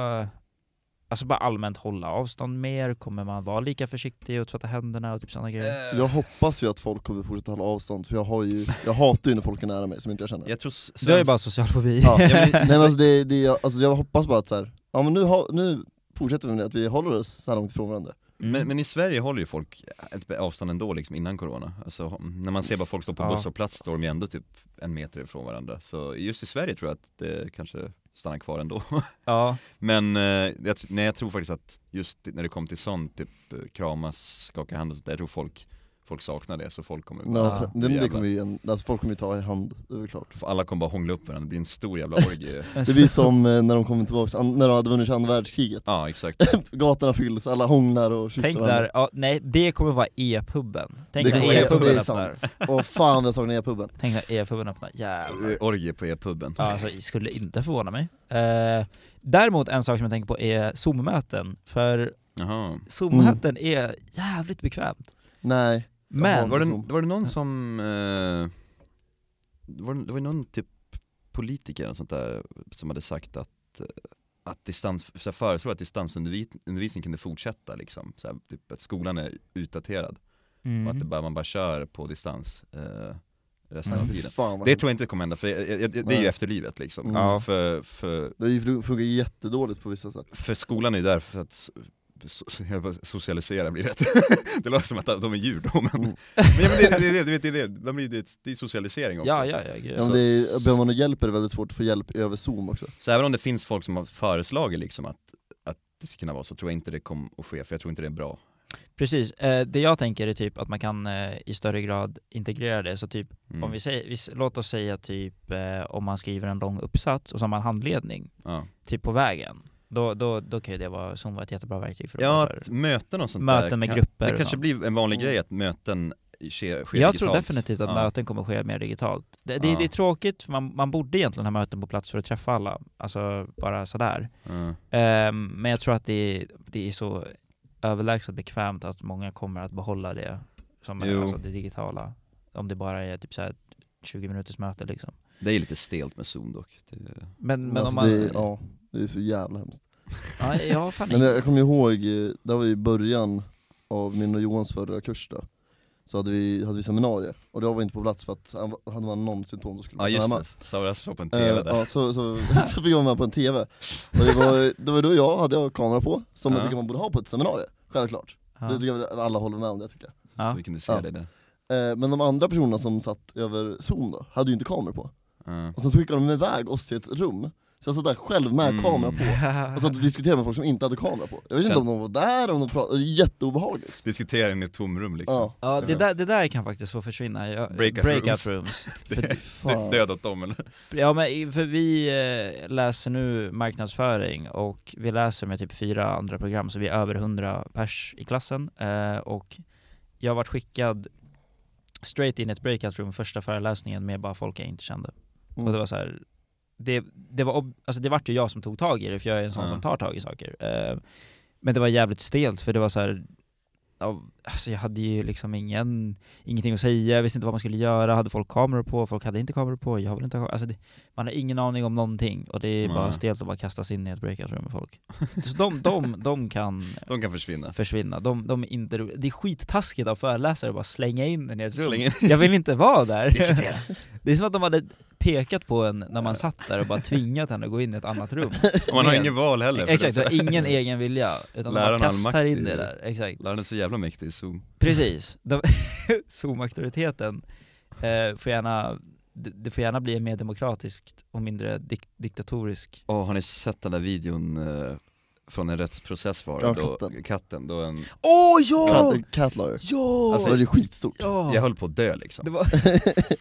Speaker 2: alltså bara allmänt hålla avstånd mer? Kommer man vara lika försiktig och tvätta händerna och typ sådana grejer?
Speaker 3: Eh,
Speaker 1: Jag hoppas ju att folk kommer fortsätta hålla avstånd, för jag har ju, jag hatar ju när folk är nära mig som inte jag känner.
Speaker 3: Jag tror s-
Speaker 2: Du har ju
Speaker 3: svensk-
Speaker 2: bara social fobi.
Speaker 1: Ja,
Speaker 3: Ja, men-
Speaker 1: Nej men alltså, det, det, jag- alltså jag hoppas bara att så här, ja men nu, ha, nu fortsätter vi med det, att vi håller oss så här långt ifrån varandra.
Speaker 2: Mm.
Speaker 3: Men, men i Sverige håller ju folk ett avstånd ändå liksom innan corona. Alltså, när man ser bara folk stå på
Speaker 2: Ja.
Speaker 3: busshållplats står de ju ändå typ en meter ifrån varandra. Så just i Sverige tror jag att det kanske stannar kvar ändå.
Speaker 2: ja.
Speaker 3: Men eh, jag, tr- nej, jag tror faktiskt att just när det kom till sånt, typ eh, kramas, skaka hand och sånt där, jag tror folk, folk saknar det. Så folk kommer
Speaker 1: Men,
Speaker 3: bara,
Speaker 2: Ja,
Speaker 1: jag tror- det, men det
Speaker 3: jävlar.
Speaker 1: kommer ju, en- alltså folk kommer ju ta i hand, det är väl klart.
Speaker 3: alla kommer bara hångla upp varandra, det blir en stor jävla orgie.
Speaker 1: Det blir som eh, när de kommer tillbaka, an, när de hade vunnit andra världskriget. Typ,
Speaker 3: ja, exakt.
Speaker 1: Gatorna fylls, alla hånglar och kysser
Speaker 2: Tänk där, ja, nej det kommer vara e-puben. Tänk
Speaker 1: Det
Speaker 2: när
Speaker 1: kommer- det
Speaker 2: e-puben
Speaker 1: är
Speaker 2: öppnar.
Speaker 1: Åh fan jag saknar e-puben.
Speaker 2: Tänk när e-puben öppnar, jävlar.
Speaker 3: Orgie på e-puben.
Speaker 2: Ja, alltså, det skulle inte förvåna mig. Eh, däremot en sak som jag tänker på är Zoom-möten, för
Speaker 3: Jaha.
Speaker 2: Zoom-möten
Speaker 3: Mm.
Speaker 2: är jävligt bekvämt.
Speaker 1: Nej,
Speaker 2: Men
Speaker 1: hatar
Speaker 3: Var
Speaker 1: Som-
Speaker 3: det, var det någon som, eh, var det, det var ju någon typ politiker eller sånt där som hade sagt att eh, att distans, så här, föreslå att distansundervisning kunde fortsätta liksom, så här, typ att skolan är utdaterad
Speaker 2: Mm.
Speaker 3: och att det
Speaker 1: Mhm.
Speaker 3: bara, man bara kör på distans eh, resten
Speaker 1: Nej,
Speaker 3: av
Speaker 1: fy
Speaker 3: tiden.
Speaker 1: fan vad
Speaker 3: Det
Speaker 1: hemskt.
Speaker 3: tror jag inte kommer hända, för jag, jag, jag, det är ju
Speaker 1: Mm. Nej.
Speaker 3: efterlivet liksom.
Speaker 1: Mm. Ja.
Speaker 3: För, för,
Speaker 1: Det har ju fun- funkar jättedåligt på vissa sätt.
Speaker 3: för skolan är ju där för att so- so- jag bara, socialisera blir rätt. det låter som att de är djur då, men,
Speaker 1: Mm.
Speaker 3: men, ja, men det, det, det, det, det, det, det, blir- det, det är socialisering också.
Speaker 2: Ja, ja, ja, gud.
Speaker 1: Ja, men det är, behöver man någon hjälp är det väldigt svårt att få hjälp över zoom också.
Speaker 3: Så även om det finns folk som har föreslagit liksom att, att det ska kunna vara så, tror jag inte det kommer att ske, för jag tror inte det är bra.
Speaker 2: Precis, eh, det jag tänker är typ att man kan eh, i större grad integrera det, så typ
Speaker 3: Mm.
Speaker 2: om vi säger, vi, s- låt oss säga typ eh, om man skriver en lång uppsats och så har man handledning,
Speaker 3: ja,
Speaker 2: typ på vägen, då, då, då kan ju det vara, Zoom vara ett jättebra verktyg för att
Speaker 3: ja
Speaker 2: bara
Speaker 3: att möten och sånt där,
Speaker 2: möten med
Speaker 3: kan-
Speaker 2: grupper
Speaker 3: det
Speaker 2: och
Speaker 3: kanske
Speaker 2: sånt.
Speaker 3: blir en vanlig
Speaker 1: Mm.
Speaker 3: grej att möten sker, sker jag
Speaker 2: Jag
Speaker 3: digitalt.
Speaker 2: tror definitivt att
Speaker 3: Ja.
Speaker 2: möten kommer ske mer digitalt. Det, det,
Speaker 3: Ja.
Speaker 2: det är tråkigt, för man, man borde egentligen ha möten på plats för att träffa alla, alltså bara sådär.
Speaker 3: Ja.
Speaker 2: Ehm, men jag tror att det är, det är så överlägset bekvämt att många kommer att behålla det som är,
Speaker 3: Jo.
Speaker 2: alltså det digitala. Om det bara är typ så här 20 minuters möte liksom.
Speaker 3: Det är lite stelt med Zoom dock. Det,
Speaker 2: Men,
Speaker 1: Men,
Speaker 2: men om
Speaker 1: alltså,
Speaker 2: man...
Speaker 1: det, ja, det är så jävla hemskt.
Speaker 2: ja, jag har fan
Speaker 1: Men
Speaker 2: inte-
Speaker 1: jag, jag kommer ihåg, eh, det här var ju i början av min och Johans förra kurs då Så hade vi, hade vi seminarier, och jag var inte på plats för att han var- hade man någon symptom så skulle
Speaker 3: ja
Speaker 1: man
Speaker 3: just
Speaker 1: stanna
Speaker 3: det, Sara
Speaker 1: hemma.
Speaker 3: såg på en
Speaker 1: Eh,
Speaker 3: TV där.
Speaker 1: ja, så, så, så fick jag vara med på en TV, och det var, det var då jag hade jag kamera på, som jag
Speaker 3: Ja.
Speaker 1: tycker man borde ha på ett seminarium, självklart
Speaker 2: ja.
Speaker 1: Det tycker jag väl alla håller med om det tycker jag
Speaker 2: ja.
Speaker 3: Så vi kunde se
Speaker 1: Ja.
Speaker 3: det där.
Speaker 1: eh, Men de andra personerna som satt över zoom då, hade ju inte kameror på
Speaker 3: Ja.
Speaker 1: Och sen så skickade de iväg oss till ett rum, så jag satt där själv med
Speaker 3: Mm.
Speaker 1: kamera på och satt och diskuterade med folk som inte hade kamera på Jag vet inte om de var där, om de pratade, det är jätteobehagligt
Speaker 3: Diskutera in i ett tomrum liksom.
Speaker 1: Ja.
Speaker 2: ja det, där, det där kan faktiskt få försvinna. Jag,
Speaker 3: Breakout rooms.
Speaker 2: rooms.
Speaker 3: Det,
Speaker 1: Fan.
Speaker 3: det, dödat dem eller?
Speaker 2: Ja men i- för vi eh, läser nu marknadsföring och vi läser med typ fyra andra program så vi är över 100 pers i klassen eh, och jag har varit skickad straight in i ett breakout room första föreläsningen med bara folk jag inte kände.
Speaker 1: Mm.
Speaker 2: Och det var så här, det, det var, ob- alltså det vart ju jag som tog tag i det för jag är en sån
Speaker 3: Ja.
Speaker 2: som tar tag i saker. Eh, men det var jävligt stelt för det var så här, ja, alltså jag hade ju liksom ingen, ingenting att säga, jag visste inte vad man skulle göra, hade folk kameror på, folk hade inte kameror på, jag vill inte ha kameror. Alltså det, man har ingen aning om någonting och det är
Speaker 3: Nej.
Speaker 2: bara stelt att bara kastas in i ett breakout room med folk. Så de, de, de kan
Speaker 3: De kan försvinna.
Speaker 2: försvinna, de, de är inte ro- Det är skittaskigt av föreläsare att bara slänga in en i ett rum.
Speaker 3: Släng in.
Speaker 2: Jag vill inte vara där.
Speaker 3: Diskutera.
Speaker 2: Det Det är som att de hade pekat på en när man satt där och bara tvingat henne att gå in i ett annat rum.
Speaker 3: Och man har
Speaker 2: Med-
Speaker 3: ingen val heller. för
Speaker 2: Exakt,
Speaker 3: det-
Speaker 2: så ingen egen vilja, utan de bara
Speaker 3: Läraren har
Speaker 2: kastar
Speaker 3: makt i
Speaker 2: in det
Speaker 3: det.
Speaker 2: där. Exakt.
Speaker 3: Läraren är så jävla mäktig i Zoom.
Speaker 2: Precis. De- Zoom-auktoriteten eh, får gärna, det det får gärna bli mer demokratiskt och mindre dik- diktatoriskt.
Speaker 3: Åh, har ni sett den där videon eh, från en rättsprocess var det?
Speaker 1: Ja,
Speaker 3: då,
Speaker 1: katten.
Speaker 3: katten då en,
Speaker 2: Åh oh,
Speaker 1: Cat,
Speaker 2: ja!
Speaker 1: cat lawyer.
Speaker 2: Ja!
Speaker 1: Alltså, det är skitstort.
Speaker 2: ja!
Speaker 3: Jag höll på att dö liksom.
Speaker 2: Det var,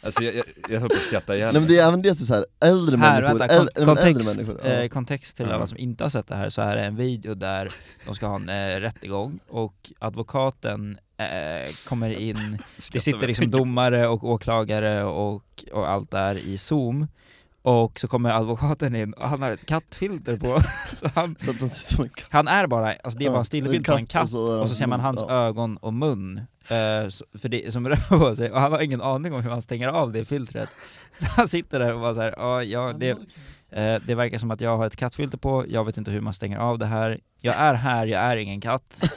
Speaker 3: Alltså jag, jag, jag höll på att skratta ihjäl
Speaker 1: Nej men det är även det så här äldre
Speaker 2: här,
Speaker 1: människor,
Speaker 2: vänta,
Speaker 1: äl- nej,
Speaker 2: kon-
Speaker 1: men äldre
Speaker 2: kontext,
Speaker 1: människor. ja.
Speaker 2: eh, kontext till
Speaker 3: Ja.
Speaker 2: alla som inte har sett det här, så här är en video där de ska ha en eh, rättegång och advokaten eh, kommer in Det sitter liksom domare och åklagare och, och allt där i zoom Och så kommer advokaten in och han har ett kattfilter på så han,
Speaker 1: Så att den ser ut som en katt.
Speaker 2: han är bara, alltså det är bara en stillbild på en katt och så, ser man
Speaker 1: mun,
Speaker 2: hans
Speaker 1: ja.
Speaker 2: ögon och mun eh, så- för det, som rör på sig och han har ingen aning om hur han stänger av det filtret Så han sitter där och bara såhär, ja, ja det, eh, det verkar som att jag har ett kattfilter på, jag vet inte hur man stänger av det här Jag är här, jag är ingen katt eh,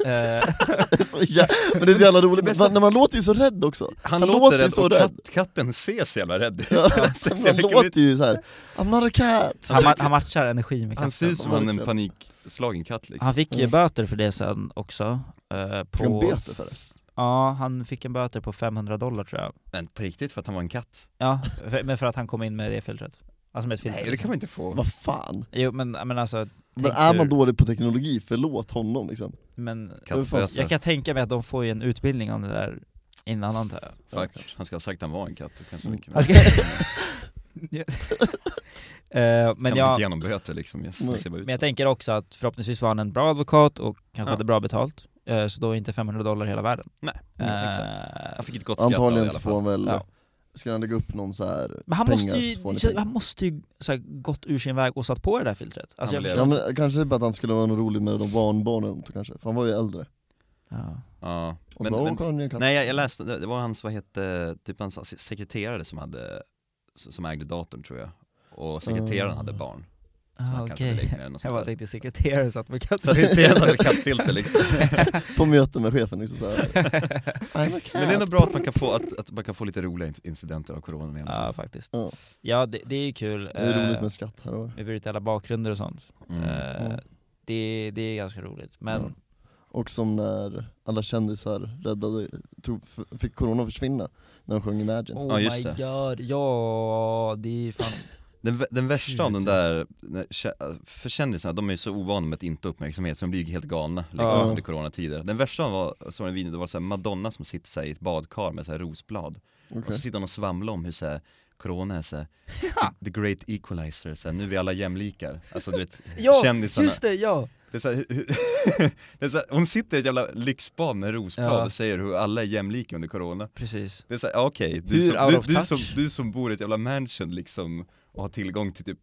Speaker 1: Så jä- Men det är så jävla roligt,
Speaker 3: Men
Speaker 1: men
Speaker 3: så-
Speaker 1: när man låter ju så rädd också.
Speaker 3: Han,
Speaker 1: Han
Speaker 3: låter
Speaker 1: låter
Speaker 3: rädd
Speaker 1: så
Speaker 3: och
Speaker 1: rädd.
Speaker 3: Katt, katten ser så jävla rädd ut.
Speaker 1: Ja,
Speaker 3: Han ser så
Speaker 1: man
Speaker 3: jävla kul ut.
Speaker 1: låter ju så här. I'm not a cat!
Speaker 2: han, ma- han matchar energi med katten
Speaker 3: Han ser ut som
Speaker 1: Ja,
Speaker 3: han en
Speaker 1: verkligen.
Speaker 3: panikslagen katt liksom.
Speaker 2: Han fick ju
Speaker 1: Mm.
Speaker 2: böter för det sen också. eh, på,
Speaker 1: Fick han böter för det?
Speaker 2: Ja, han fick en böter på 500 dollar tror jag.
Speaker 3: Men på riktigt för att han var en katt?
Speaker 2: Ja, för, men för att han kom in med det filtret. Alltså med ett filter.
Speaker 3: Nej det kan man inte få.
Speaker 1: Vad fan?
Speaker 2: Jo men, men alltså,
Speaker 1: Men
Speaker 2: Tänk
Speaker 1: är
Speaker 2: hur-
Speaker 1: man dålig på teknologi, förlåt honom liksom.
Speaker 2: men
Speaker 3: Kattföt.
Speaker 2: jag kan tänka mig att de får ju en utbildning om det där innan antar jag.
Speaker 3: Fuck. Han ska ha sagt att han var en katt, då kanske
Speaker 1: Mm.
Speaker 3: han kan,
Speaker 2: Jag
Speaker 3: kan
Speaker 2: ska- Eh, men,
Speaker 3: man inte
Speaker 2: jag, Mm.
Speaker 3: ge honom böter liksom. Yes.
Speaker 1: Nej.
Speaker 3: Det ser bara ut
Speaker 2: men jag
Speaker 3: så.
Speaker 2: tänker också att förhoppningsvis var han en bra advokat och kanske
Speaker 3: Ja.
Speaker 2: hade bra betalt. eh, så då är inte 500 dollar hela världen.
Speaker 3: Nej,
Speaker 2: Eh,
Speaker 3: exakt. Han fick ett gott skratt av det i
Speaker 1: Antagligen
Speaker 3: alla
Speaker 1: så får
Speaker 3: fall.
Speaker 1: han väl,
Speaker 2: Ja.
Speaker 1: ska han lägga upp någon så här
Speaker 2: Men han
Speaker 1: pengar,
Speaker 2: måste ju,
Speaker 1: så får han
Speaker 2: han måste ju så här, gått ur sin väg och satt på det där filtret. Alltså,
Speaker 3: Han
Speaker 2: jag
Speaker 3: blev-
Speaker 2: förstår.
Speaker 1: Ja men kanske bara att han skulle vara något roligt med de barnbarnen då kanske, för han var ju äldre.
Speaker 2: Ja.
Speaker 3: Ja.
Speaker 1: Och så
Speaker 3: Men-
Speaker 1: bara,
Speaker 3: men-
Speaker 1: åh kolla nu är en katt.
Speaker 3: Nej jag, jag läste, det det var hans, vad hette, typ hans ass- sekreterare som hade, s- som ägde datorn tror jag. Och sekreteraren
Speaker 1: Ah.
Speaker 3: hade barn. som
Speaker 2: Ah,
Speaker 3: han kanske hade
Speaker 2: okej.
Speaker 3: lekt med eller något
Speaker 2: Jag
Speaker 3: sånt
Speaker 2: bara
Speaker 3: där.
Speaker 2: tänkte sekreterare satt med katten.
Speaker 3: Sekreteraren hade kattfilter liksom.
Speaker 1: På möten med chefen liksom så här. I'm a cat.
Speaker 3: Men det är ändå bra att man kan få, att, att man kan få lite roliga in- incidenter av corona igen.
Speaker 2: ja faktiskt.
Speaker 1: Ja.
Speaker 2: Ja det, det är ju kul.
Speaker 1: Det är roligt
Speaker 2: Eh,
Speaker 1: med skatt här och
Speaker 2: Vi bryter alla bakgrunder och sånt.
Speaker 3: Mm.
Speaker 2: Eh,
Speaker 1: Mm.
Speaker 2: Det, det är ganska roligt. Men
Speaker 1: Ja. Och som när alla kändisar räddade, tro, f- fick corona försvinna när de sjöng Imagine.
Speaker 2: oh
Speaker 3: Ja,
Speaker 2: my
Speaker 3: just
Speaker 2: god, ja det är fan...
Speaker 3: Den, vä- den värsta av den
Speaker 2: Gud.
Speaker 3: där, när kä- för kändisarna, de är ju så ovana med att inte ha uppmärksamhet så de blir ju helt galna liksom,
Speaker 2: Ja.
Speaker 3: under coronatider. Den värsta var, såg en video, det var så här Madonna som sitter så här, i ett badkar med så här, rosblad. Och
Speaker 1: Okej.
Speaker 3: så sitter hon och svamlar om hur så här, corona är så här, the, the great equalizer, så här, nu är vi alla jämlikar. Alltså du vet,
Speaker 2: Ja,
Speaker 3: kändisarna.
Speaker 2: just det, ja!
Speaker 3: Det är så här, hur- hur- det är så här, hon sitter i ett jävla lyxbad med rosblad
Speaker 2: Ja.
Speaker 3: och säger hur alla är jämlika under corona.
Speaker 2: Precis.
Speaker 3: Det är såhär, okej,
Speaker 2: Hur
Speaker 3: du, som-
Speaker 2: out
Speaker 3: du,
Speaker 2: of
Speaker 3: du,
Speaker 2: touch?
Speaker 3: som, du som bor i ett jävla mansion liksom och har tillgång till typ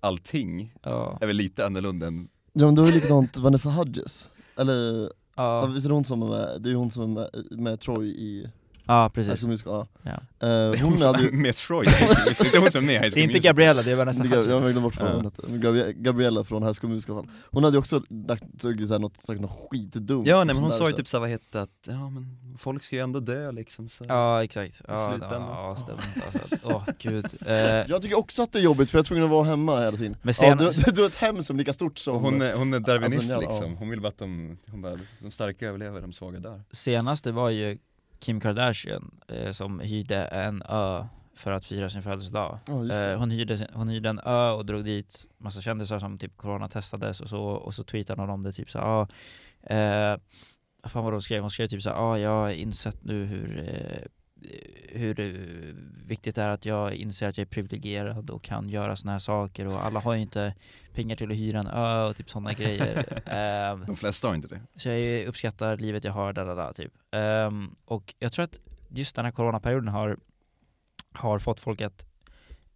Speaker 3: allting,
Speaker 2: Ja.
Speaker 3: är väl lite annorlunda än...
Speaker 1: Ja men det var ju likadant Vanessa Hudges, eller ja.
Speaker 2: Ja,
Speaker 1: visst är det hon som är med, det är ju hon som är med, med Troy i
Speaker 2: ja
Speaker 1: High
Speaker 2: precis.
Speaker 1: School Musical, ja.
Speaker 2: Ja.
Speaker 1: Eh,
Speaker 3: Det är
Speaker 1: Hon
Speaker 3: hon som
Speaker 1: hade
Speaker 3: är
Speaker 1: ju,
Speaker 3: med Troy, i High School Musical. det är hon som är med i High
Speaker 2: Det är
Speaker 3: School
Speaker 2: inte
Speaker 3: Musical.
Speaker 2: Gabriella, det är Vanessa
Speaker 1: inte Gab- jag
Speaker 2: Hutchins.
Speaker 1: glömde bort vad
Speaker 3: Ja.
Speaker 1: hon hette, Men Gabri- Gabriella från High School Musical, i alla fall. hon hade ju också lagt, tagit såhär något, sagt något skitdumt
Speaker 3: Ja nej
Speaker 1: typ
Speaker 3: men
Speaker 1: sån
Speaker 3: hon
Speaker 1: där,
Speaker 3: sa ju
Speaker 1: så.
Speaker 3: typ såhär, vad hette att, ja men folk ska ju ändå dö liksom så
Speaker 2: Ja exakt, ja, ja,
Speaker 3: slutändan.
Speaker 2: ja stämt alltså. Åh gud. Eh,
Speaker 1: Jag tycker också att det är jobbigt för jag är tvungen att vara hemma hela tiden
Speaker 2: Men
Speaker 1: ja,
Speaker 2: sen-
Speaker 1: du, du, du har ett hem som är lika stort som...
Speaker 3: Hon är, hon är darwinist
Speaker 1: Alltså, ja, ja.
Speaker 3: liksom, hon vill bara att de, hon bara, de starka överlever, de svaga dör.
Speaker 2: senaste var ju Kim Kardashian eh, som hyrde en ö för att fira sin födelsedag.
Speaker 1: Ja, just det.
Speaker 2: Eh, hon, hyrde, sin- hon hyrde en ö och drog dit massa kändisar som typ coronatestades och så, och så tweetade hon om det typ såhär, ah, eh, vad fan vad hon skrev, hon skrev typ såhär, ah, jag har insett nu hur eh, hur eh, viktigt det är att jag inser att jag är privilegierad och kan göra såna här saker och alla har ju inte pengar till att hyra en ö och typ sådana grejer. Eh,
Speaker 3: De flesta har inte det.
Speaker 2: så jag uppskattar livet jag har, da, da, da, typ. Ehm, och jag tror att just den här coronaperioden har, har fått folk att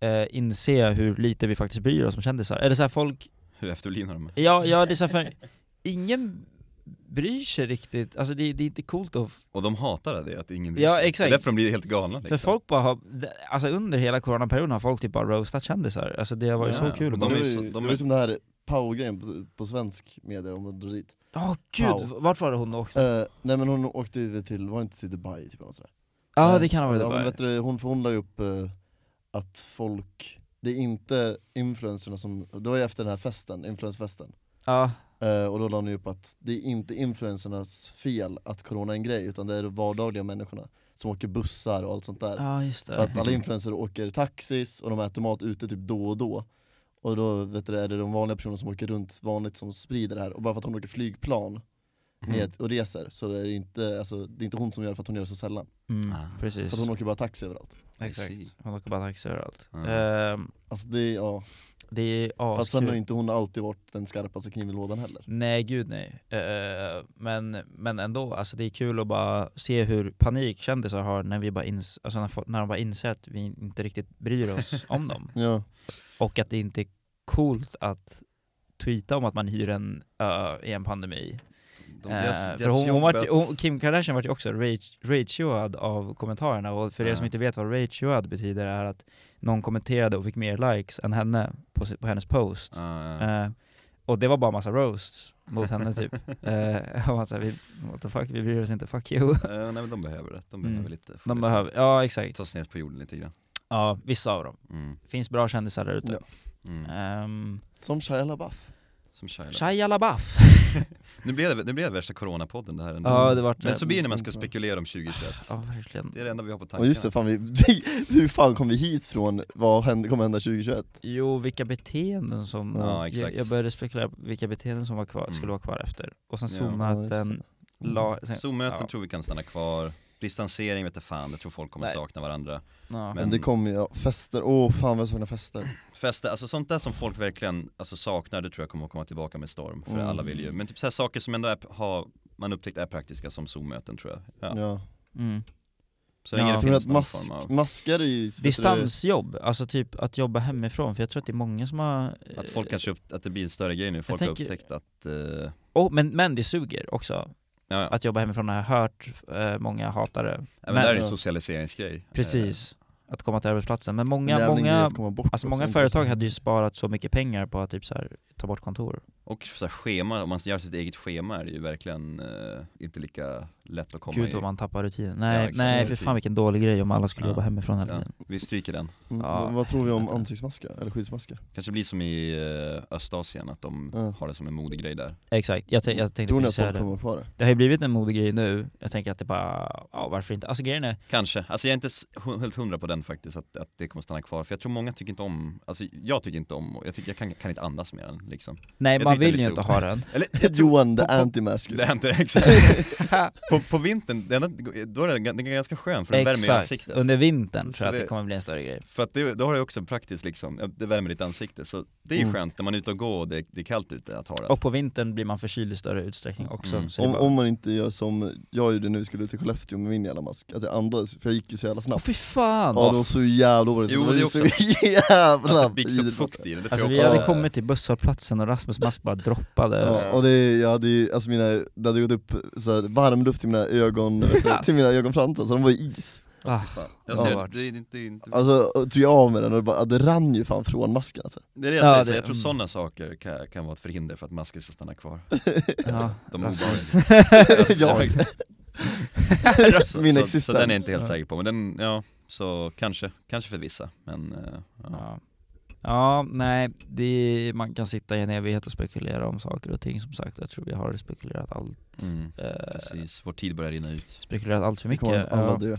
Speaker 2: eh, inse hur lite vi faktiskt bryr oss om kändisar. Eller så här folk,
Speaker 3: Hur efterblivna de är.
Speaker 2: ja, ja det är så här för, ingen bryr sig riktigt, alltså det, det är inte coolt att
Speaker 3: Och de hatar det, att ingen
Speaker 2: Ja,
Speaker 3: sig.
Speaker 2: exakt.
Speaker 3: Det är därför de blir helt galna liksom.
Speaker 2: För folk bara har, alltså under hela coronaperioden har folk typ bara roastat kändisar, alltså det har varit
Speaker 3: Ja,
Speaker 2: så kul att
Speaker 3: de
Speaker 2: bara,
Speaker 1: det
Speaker 3: är
Speaker 1: var
Speaker 3: ju så-
Speaker 1: ju,
Speaker 3: de
Speaker 1: det
Speaker 3: är-
Speaker 1: var ju som det här Pau-grejen på, på svensk media om man drar dit
Speaker 2: åh gud, vart var det hon åkte?
Speaker 1: Eh, nej men hon åkte ju till, var det inte till Dubai typ eller något sådär?
Speaker 2: Ja
Speaker 1: Nej.
Speaker 2: det kan ha varit
Speaker 1: ja, men
Speaker 2: Dubai.
Speaker 1: vet du, hon, för hon la ju upp eh, att folk, det är inte influencerna som, det var ju efter den här festen, influensfesten,
Speaker 2: Ja,
Speaker 1: eh, och då la ni upp att det är inte influencernas fel att corona är en grej, utan det är de vardagliga människorna som åker bussar och allt sånt där.
Speaker 2: ja just
Speaker 1: För att
Speaker 2: det.
Speaker 1: alla influencers åker taxis och de äter mat ute typ då och då. Och då vet du, är det de vanliga personerna som åker runt vanligt som sprider det här. Och bara för att hon åker flygplan
Speaker 3: Mm. Mhm.
Speaker 2: Eh,
Speaker 1: ned och reser så är det inte, alltså, det är inte hon som gör det för att hon gör det så sällan.
Speaker 2: Mm,
Speaker 3: Ah.
Speaker 2: precis.
Speaker 1: För att hon åker bara taxi överallt.
Speaker 3: Precis.
Speaker 2: Exakt, hon åker bara taxi överallt.
Speaker 3: Ja.
Speaker 2: Ehm,
Speaker 1: Alltså det är, ja.
Speaker 2: det är
Speaker 1: Fast sen har
Speaker 2: askul.
Speaker 1: inte hon alltid varit den skarpaste kniven i lådan heller.
Speaker 2: Nej gud nej. Eh, men, men ändå, alltså det är kul att bara se hur panik kändisar har när, vi bara ins- alltså när, fo- när de bara inser att vi inte riktigt bryr oss om dem.
Speaker 1: Ja,
Speaker 2: Och att det inte är coolt att tweeta om att man hyr en ö i en pandemi.
Speaker 3: De,
Speaker 2: Eh,
Speaker 3: deras-
Speaker 2: för
Speaker 3: deras
Speaker 2: hon, hon vart,
Speaker 3: jobb
Speaker 2: hon, Kim Kardashian vart ju också rage- ratioad av kommentarerna, och för er
Speaker 3: Ja.
Speaker 2: som inte vet vad ratioad betyder är att någon kommenterade och fick mer likes än henne på, si- på hennes post.
Speaker 3: att- Ah, ja.
Speaker 2: Eh, och det var bara massa roasts mot henne typ. Uh, och alltså, vi, what the fuck, vi bryr oss inte, fuck you.
Speaker 3: Eh, nej men de behöver det, de
Speaker 2: Mm.
Speaker 3: behöver lite, få
Speaker 2: De
Speaker 3: lite-
Speaker 2: behöver, ja exakt.
Speaker 3: tas ner på jorden lite grann.
Speaker 2: Ja, vissa av dem.
Speaker 3: Mm.
Speaker 2: Finns bra kändisar där ute.
Speaker 1: Ja.
Speaker 3: Mm.
Speaker 2: Ehm,
Speaker 1: som Shia LaBeouf.
Speaker 3: Som Shia LaBeouf.
Speaker 2: Shia LaBeouf!
Speaker 3: Nu blev det, nu blev det värsta coronapodden det här ändå.
Speaker 2: Ja, det vart
Speaker 3: Men så blir det när man ska
Speaker 1: Mm.
Speaker 3: spekulera om 2021.
Speaker 2: Ja, verkligen.
Speaker 3: Det är det enda vi har på tankarna.
Speaker 1: Och just det, fan vi, vi, hur fan kom vi hit från vad hände, kommer hända 2021?
Speaker 2: Jo, vilka beteenden som...
Speaker 3: Ja,
Speaker 2: jag,
Speaker 3: exakt.
Speaker 2: jag började spekulera på vilka beteenden som var kvar,
Speaker 3: Mm.
Speaker 2: skulle vara kvar efter. Och sen
Speaker 3: Ja. Mm.
Speaker 2: Zoom-möten, la... sen-
Speaker 3: Zoom-möten
Speaker 2: Ja.
Speaker 3: tror vi kan stanna kvar, distansering vet jag fan, jag tror folk kommer
Speaker 2: Nej.
Speaker 3: sakna varandra.
Speaker 2: ja.
Speaker 1: Men det kommer ju, ja, fester, åh fan vad jag saknar fester.
Speaker 3: Fester, alltså sånt där som folk verkligen alltså, saknar, det tror jag kommer att komma tillbaka med storm, för
Speaker 1: Mm.
Speaker 3: alla vill ju. Men typ så här saker som ändå är, har, man upptäckt är praktiska som Zoom-möten tror jag. Ja.
Speaker 1: Ja.
Speaker 2: Mm.
Speaker 3: Så länge
Speaker 2: Ja.
Speaker 3: det
Speaker 1: Tror ni
Speaker 3: finns
Speaker 1: att
Speaker 3: någon
Speaker 1: mask,
Speaker 3: form av,
Speaker 1: maskar är ju... vet du det-
Speaker 2: Distansjobb, alltså typ att jobba hemifrån, för jag tror att det är många som har... eh,
Speaker 3: att folk kanske, upp, att det blir en större grej nu, folk har
Speaker 2: tänker-
Speaker 3: upptäckt att, eh, ja,
Speaker 2: oh, men, men det suger också,
Speaker 3: ja.
Speaker 2: att jobba hemifrån har jag hört eh, många hatar det.
Speaker 3: Ja, men det här är ju
Speaker 1: Ja.
Speaker 3: en socialiseringsgrej. Eh,
Speaker 2: Precis, att komma till arbetsplatsen. Men
Speaker 1: en
Speaker 2: många,
Speaker 1: jävla grej
Speaker 2: många,
Speaker 1: att komma bort
Speaker 2: alltså
Speaker 1: också,
Speaker 2: många
Speaker 1: inte
Speaker 2: företag
Speaker 1: så-
Speaker 2: hade ju sparat så mycket pengar på att typ så här, ta bort kontor.
Speaker 3: Och så här, schema, om man gör sitt eget schema är det ju verkligen eh, inte lika lätt att komma
Speaker 2: Gud
Speaker 3: i.
Speaker 2: vad man tappar rutinen. Nej,
Speaker 3: exakt.
Speaker 2: nej för
Speaker 3: Rutin.
Speaker 2: fan vilken dålig grej om alla skulle
Speaker 3: Ja.
Speaker 2: jobba hemifrån hela
Speaker 3: Ja,
Speaker 2: tiden.
Speaker 3: vi stryker den.
Speaker 1: Mm,
Speaker 2: Ja.
Speaker 1: vad- Vad tror vi om ansiktsmaskar? Eller skyddsmaskar?
Speaker 3: Kanske blir som i eh, Östasien, att de
Speaker 1: Ja.
Speaker 3: har det som en modegrej där.
Speaker 2: Exakt, jag, tän- jag tänkte
Speaker 1: Tror ni
Speaker 2: precis
Speaker 1: att
Speaker 2: säga
Speaker 1: folk
Speaker 2: det.
Speaker 1: kommer att ha kvar det?
Speaker 2: Det har ju blivit en modig grej nu, jag tänker att det bara, ja varför inte? Alltså grejen är,
Speaker 3: Kanske, alltså jag är inte s- hu- helt hundra på den faktiskt, att, att det kommer stanna kvar. För jag tror många tycker inte om, alltså jag tycker inte om, och jag, tycker, jag kan, kan inte andas med den liksom.
Speaker 2: nej
Speaker 3: Jag
Speaker 2: man
Speaker 3: tyckte
Speaker 2: vill ju
Speaker 3: lite
Speaker 2: inte
Speaker 3: o-
Speaker 2: ha den.
Speaker 3: Eller jag tror,
Speaker 1: Johan the
Speaker 3: på- på- det
Speaker 1: anti-masker
Speaker 3: är inte exakt. på, på vintern, det enda- då är den, den är ganska skön för den värmer ju
Speaker 2: Exakt,
Speaker 3: ansiktet.
Speaker 2: under vintern
Speaker 3: Så
Speaker 1: Alltså,
Speaker 2: tror jag att det
Speaker 3: det-
Speaker 2: kommer bli en större grej.
Speaker 3: För att det, då har du också praktiskt liksom, ja, det värmer ditt ansikte. Så det är ju
Speaker 1: Mm.
Speaker 3: skönt när man är ute och går och det, det är kallt ute att ha det.
Speaker 2: Och på vintern blir man förkyld i större utsträckning också.
Speaker 3: Mm.
Speaker 2: Så det är
Speaker 1: om,
Speaker 2: bara...
Speaker 1: om man inte gör som jag gjorde när vi skulle till Skellefteå med min jävla mask, att jag andades, för jag gick ju så jävla
Speaker 2: Åh
Speaker 1: snabbt
Speaker 2: fy fan!
Speaker 1: Ja det var så jävla orättvist,
Speaker 3: Jo,
Speaker 1: det var
Speaker 3: det
Speaker 1: ju
Speaker 3: är
Speaker 1: så
Speaker 3: också-
Speaker 1: jävla
Speaker 3: att det byggs upp
Speaker 1: vidrigt.
Speaker 3: fukt i det, det tror
Speaker 2: Alltså
Speaker 3: jag
Speaker 2: vi
Speaker 3: också
Speaker 2: hade
Speaker 3: är-
Speaker 2: kommit till busshållplatsen och Rasmus mask bara droppade.
Speaker 1: Ja, och det, jag hade ju, alltså mina, det hade gått upp så här, varm luft till mina ögon, till mina ögonfransar så de var ju is
Speaker 2: Ah,
Speaker 3: Fan. Jag ser,
Speaker 1: Ja.
Speaker 3: det, är inte, det, är inte,
Speaker 1: Alltså och tog jag av mig den och det, bara, det rann ju fan från masken alltså
Speaker 3: det är det
Speaker 2: Ja,
Speaker 3: jag säger, så
Speaker 2: det-
Speaker 3: jag tror
Speaker 2: mm.
Speaker 3: sådana saker kan, kan vara ett förhinder för att masker ska stanna kvar. Alltså,
Speaker 2: ja,
Speaker 3: De
Speaker 2: Rasmus.
Speaker 1: Ja.
Speaker 3: Så-
Speaker 1: Min
Speaker 3: så, Så
Speaker 1: existens.
Speaker 3: den är jag inte helt
Speaker 2: Ja.
Speaker 3: säker på, men den, ja, så kanske, kanske för vissa. Men eh, ja.
Speaker 2: Ja. ja, nej, det, man kan sitta i en evighet och spekulera om saker och ting som sagt. Jag tror vi har spekulerat allt,
Speaker 3: Mm,
Speaker 2: eh,
Speaker 3: precis, vår tid börjar rinna ut.
Speaker 2: spekulerat allt för
Speaker 1: Vi kommer
Speaker 2: mycket.
Speaker 1: alla
Speaker 2: Ja.
Speaker 1: dö,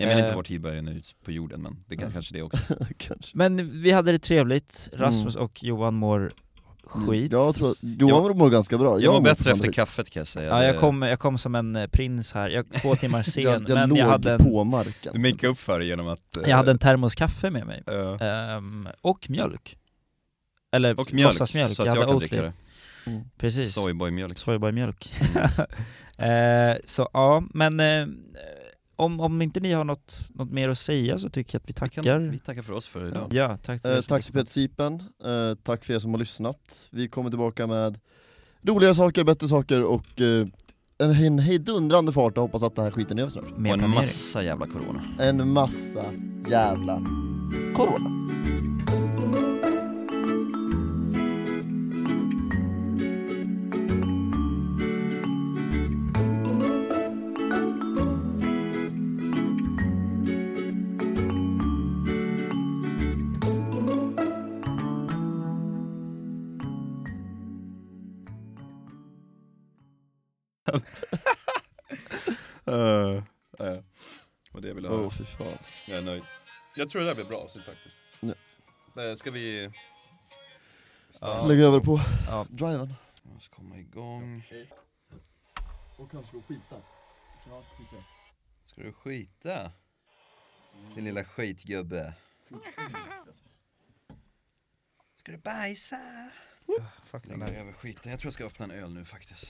Speaker 3: Jag menar
Speaker 2: Eh.
Speaker 3: inte vår tid börjar rinna ut på jorden, men det kan,
Speaker 1: Ja.
Speaker 3: kanske det också.
Speaker 1: kanske
Speaker 2: Men vi hade det trevligt, Rasmus
Speaker 3: Mm.
Speaker 2: och Johan mår skit.
Speaker 1: Jag tror att Johan mår ganska bra,
Speaker 3: Jag mår bättre
Speaker 1: fortfarande
Speaker 3: efter
Speaker 1: skit.
Speaker 3: kaffet kan jag säga.
Speaker 2: Ja,
Speaker 3: Det-
Speaker 2: jag, kom, jag kom som en eh, prins här, jag två timmar sen,
Speaker 1: jag, jag
Speaker 2: men
Speaker 1: låg
Speaker 2: jag hade, en,
Speaker 1: på marken
Speaker 3: Du make upp för det genom att... eh,
Speaker 2: jag hade en termos kaffe med mig.
Speaker 3: eh,
Speaker 2: Ehm, och mjölk. Eller
Speaker 3: och mjölk,
Speaker 2: låtsasmjölk,
Speaker 3: så att
Speaker 2: jag
Speaker 3: jag,
Speaker 2: hade
Speaker 3: kan dricka
Speaker 2: Oatly.
Speaker 3: det.
Speaker 1: Mm.
Speaker 2: Precis.
Speaker 3: Soyboy-mjölk.
Speaker 2: Soyboy-mjölk.
Speaker 3: Mm.
Speaker 2: Eh, så ja, men eh, om, om inte ni har något, något mer att säga så tycker jag att
Speaker 3: Vi,
Speaker 2: vi tackar.
Speaker 3: kan, vi tackar för oss för idag.
Speaker 2: Ja, tack till er
Speaker 1: Eh,
Speaker 2: som
Speaker 1: tack till
Speaker 2: lyssnade.
Speaker 1: Peter Sipen, eh, tack för er som har lyssnat. Vi kommer tillbaka med roligare saker, bättre saker och eh, en, en hejdundrande fart och hoppas att den här skiten är över snart.
Speaker 2: Mer
Speaker 3: och en
Speaker 2: planering.
Speaker 3: massa jävla corona.
Speaker 1: En massa jävla corona.
Speaker 3: Eh, eh, Vad det jag ville höra.
Speaker 1: Åh fy fan.
Speaker 3: Jag är nöjd. Jag tror det där blir bra avsnitt faktiskt.
Speaker 1: Ja.
Speaker 3: Eh, Ska vi...
Speaker 2: Ja.
Speaker 1: Lägg över på
Speaker 2: Ja.
Speaker 1: driven.
Speaker 3: Jag måste komma igång.
Speaker 1: Och kanske gå och skita. Jag ska skita.
Speaker 3: Ska du skita? Din lilla skitgubbe. Ska du bajsa?
Speaker 2: Fuck den
Speaker 3: Jag
Speaker 2: där.
Speaker 3: över skiten. Jag tror jag ska öppna en öl nu faktiskt.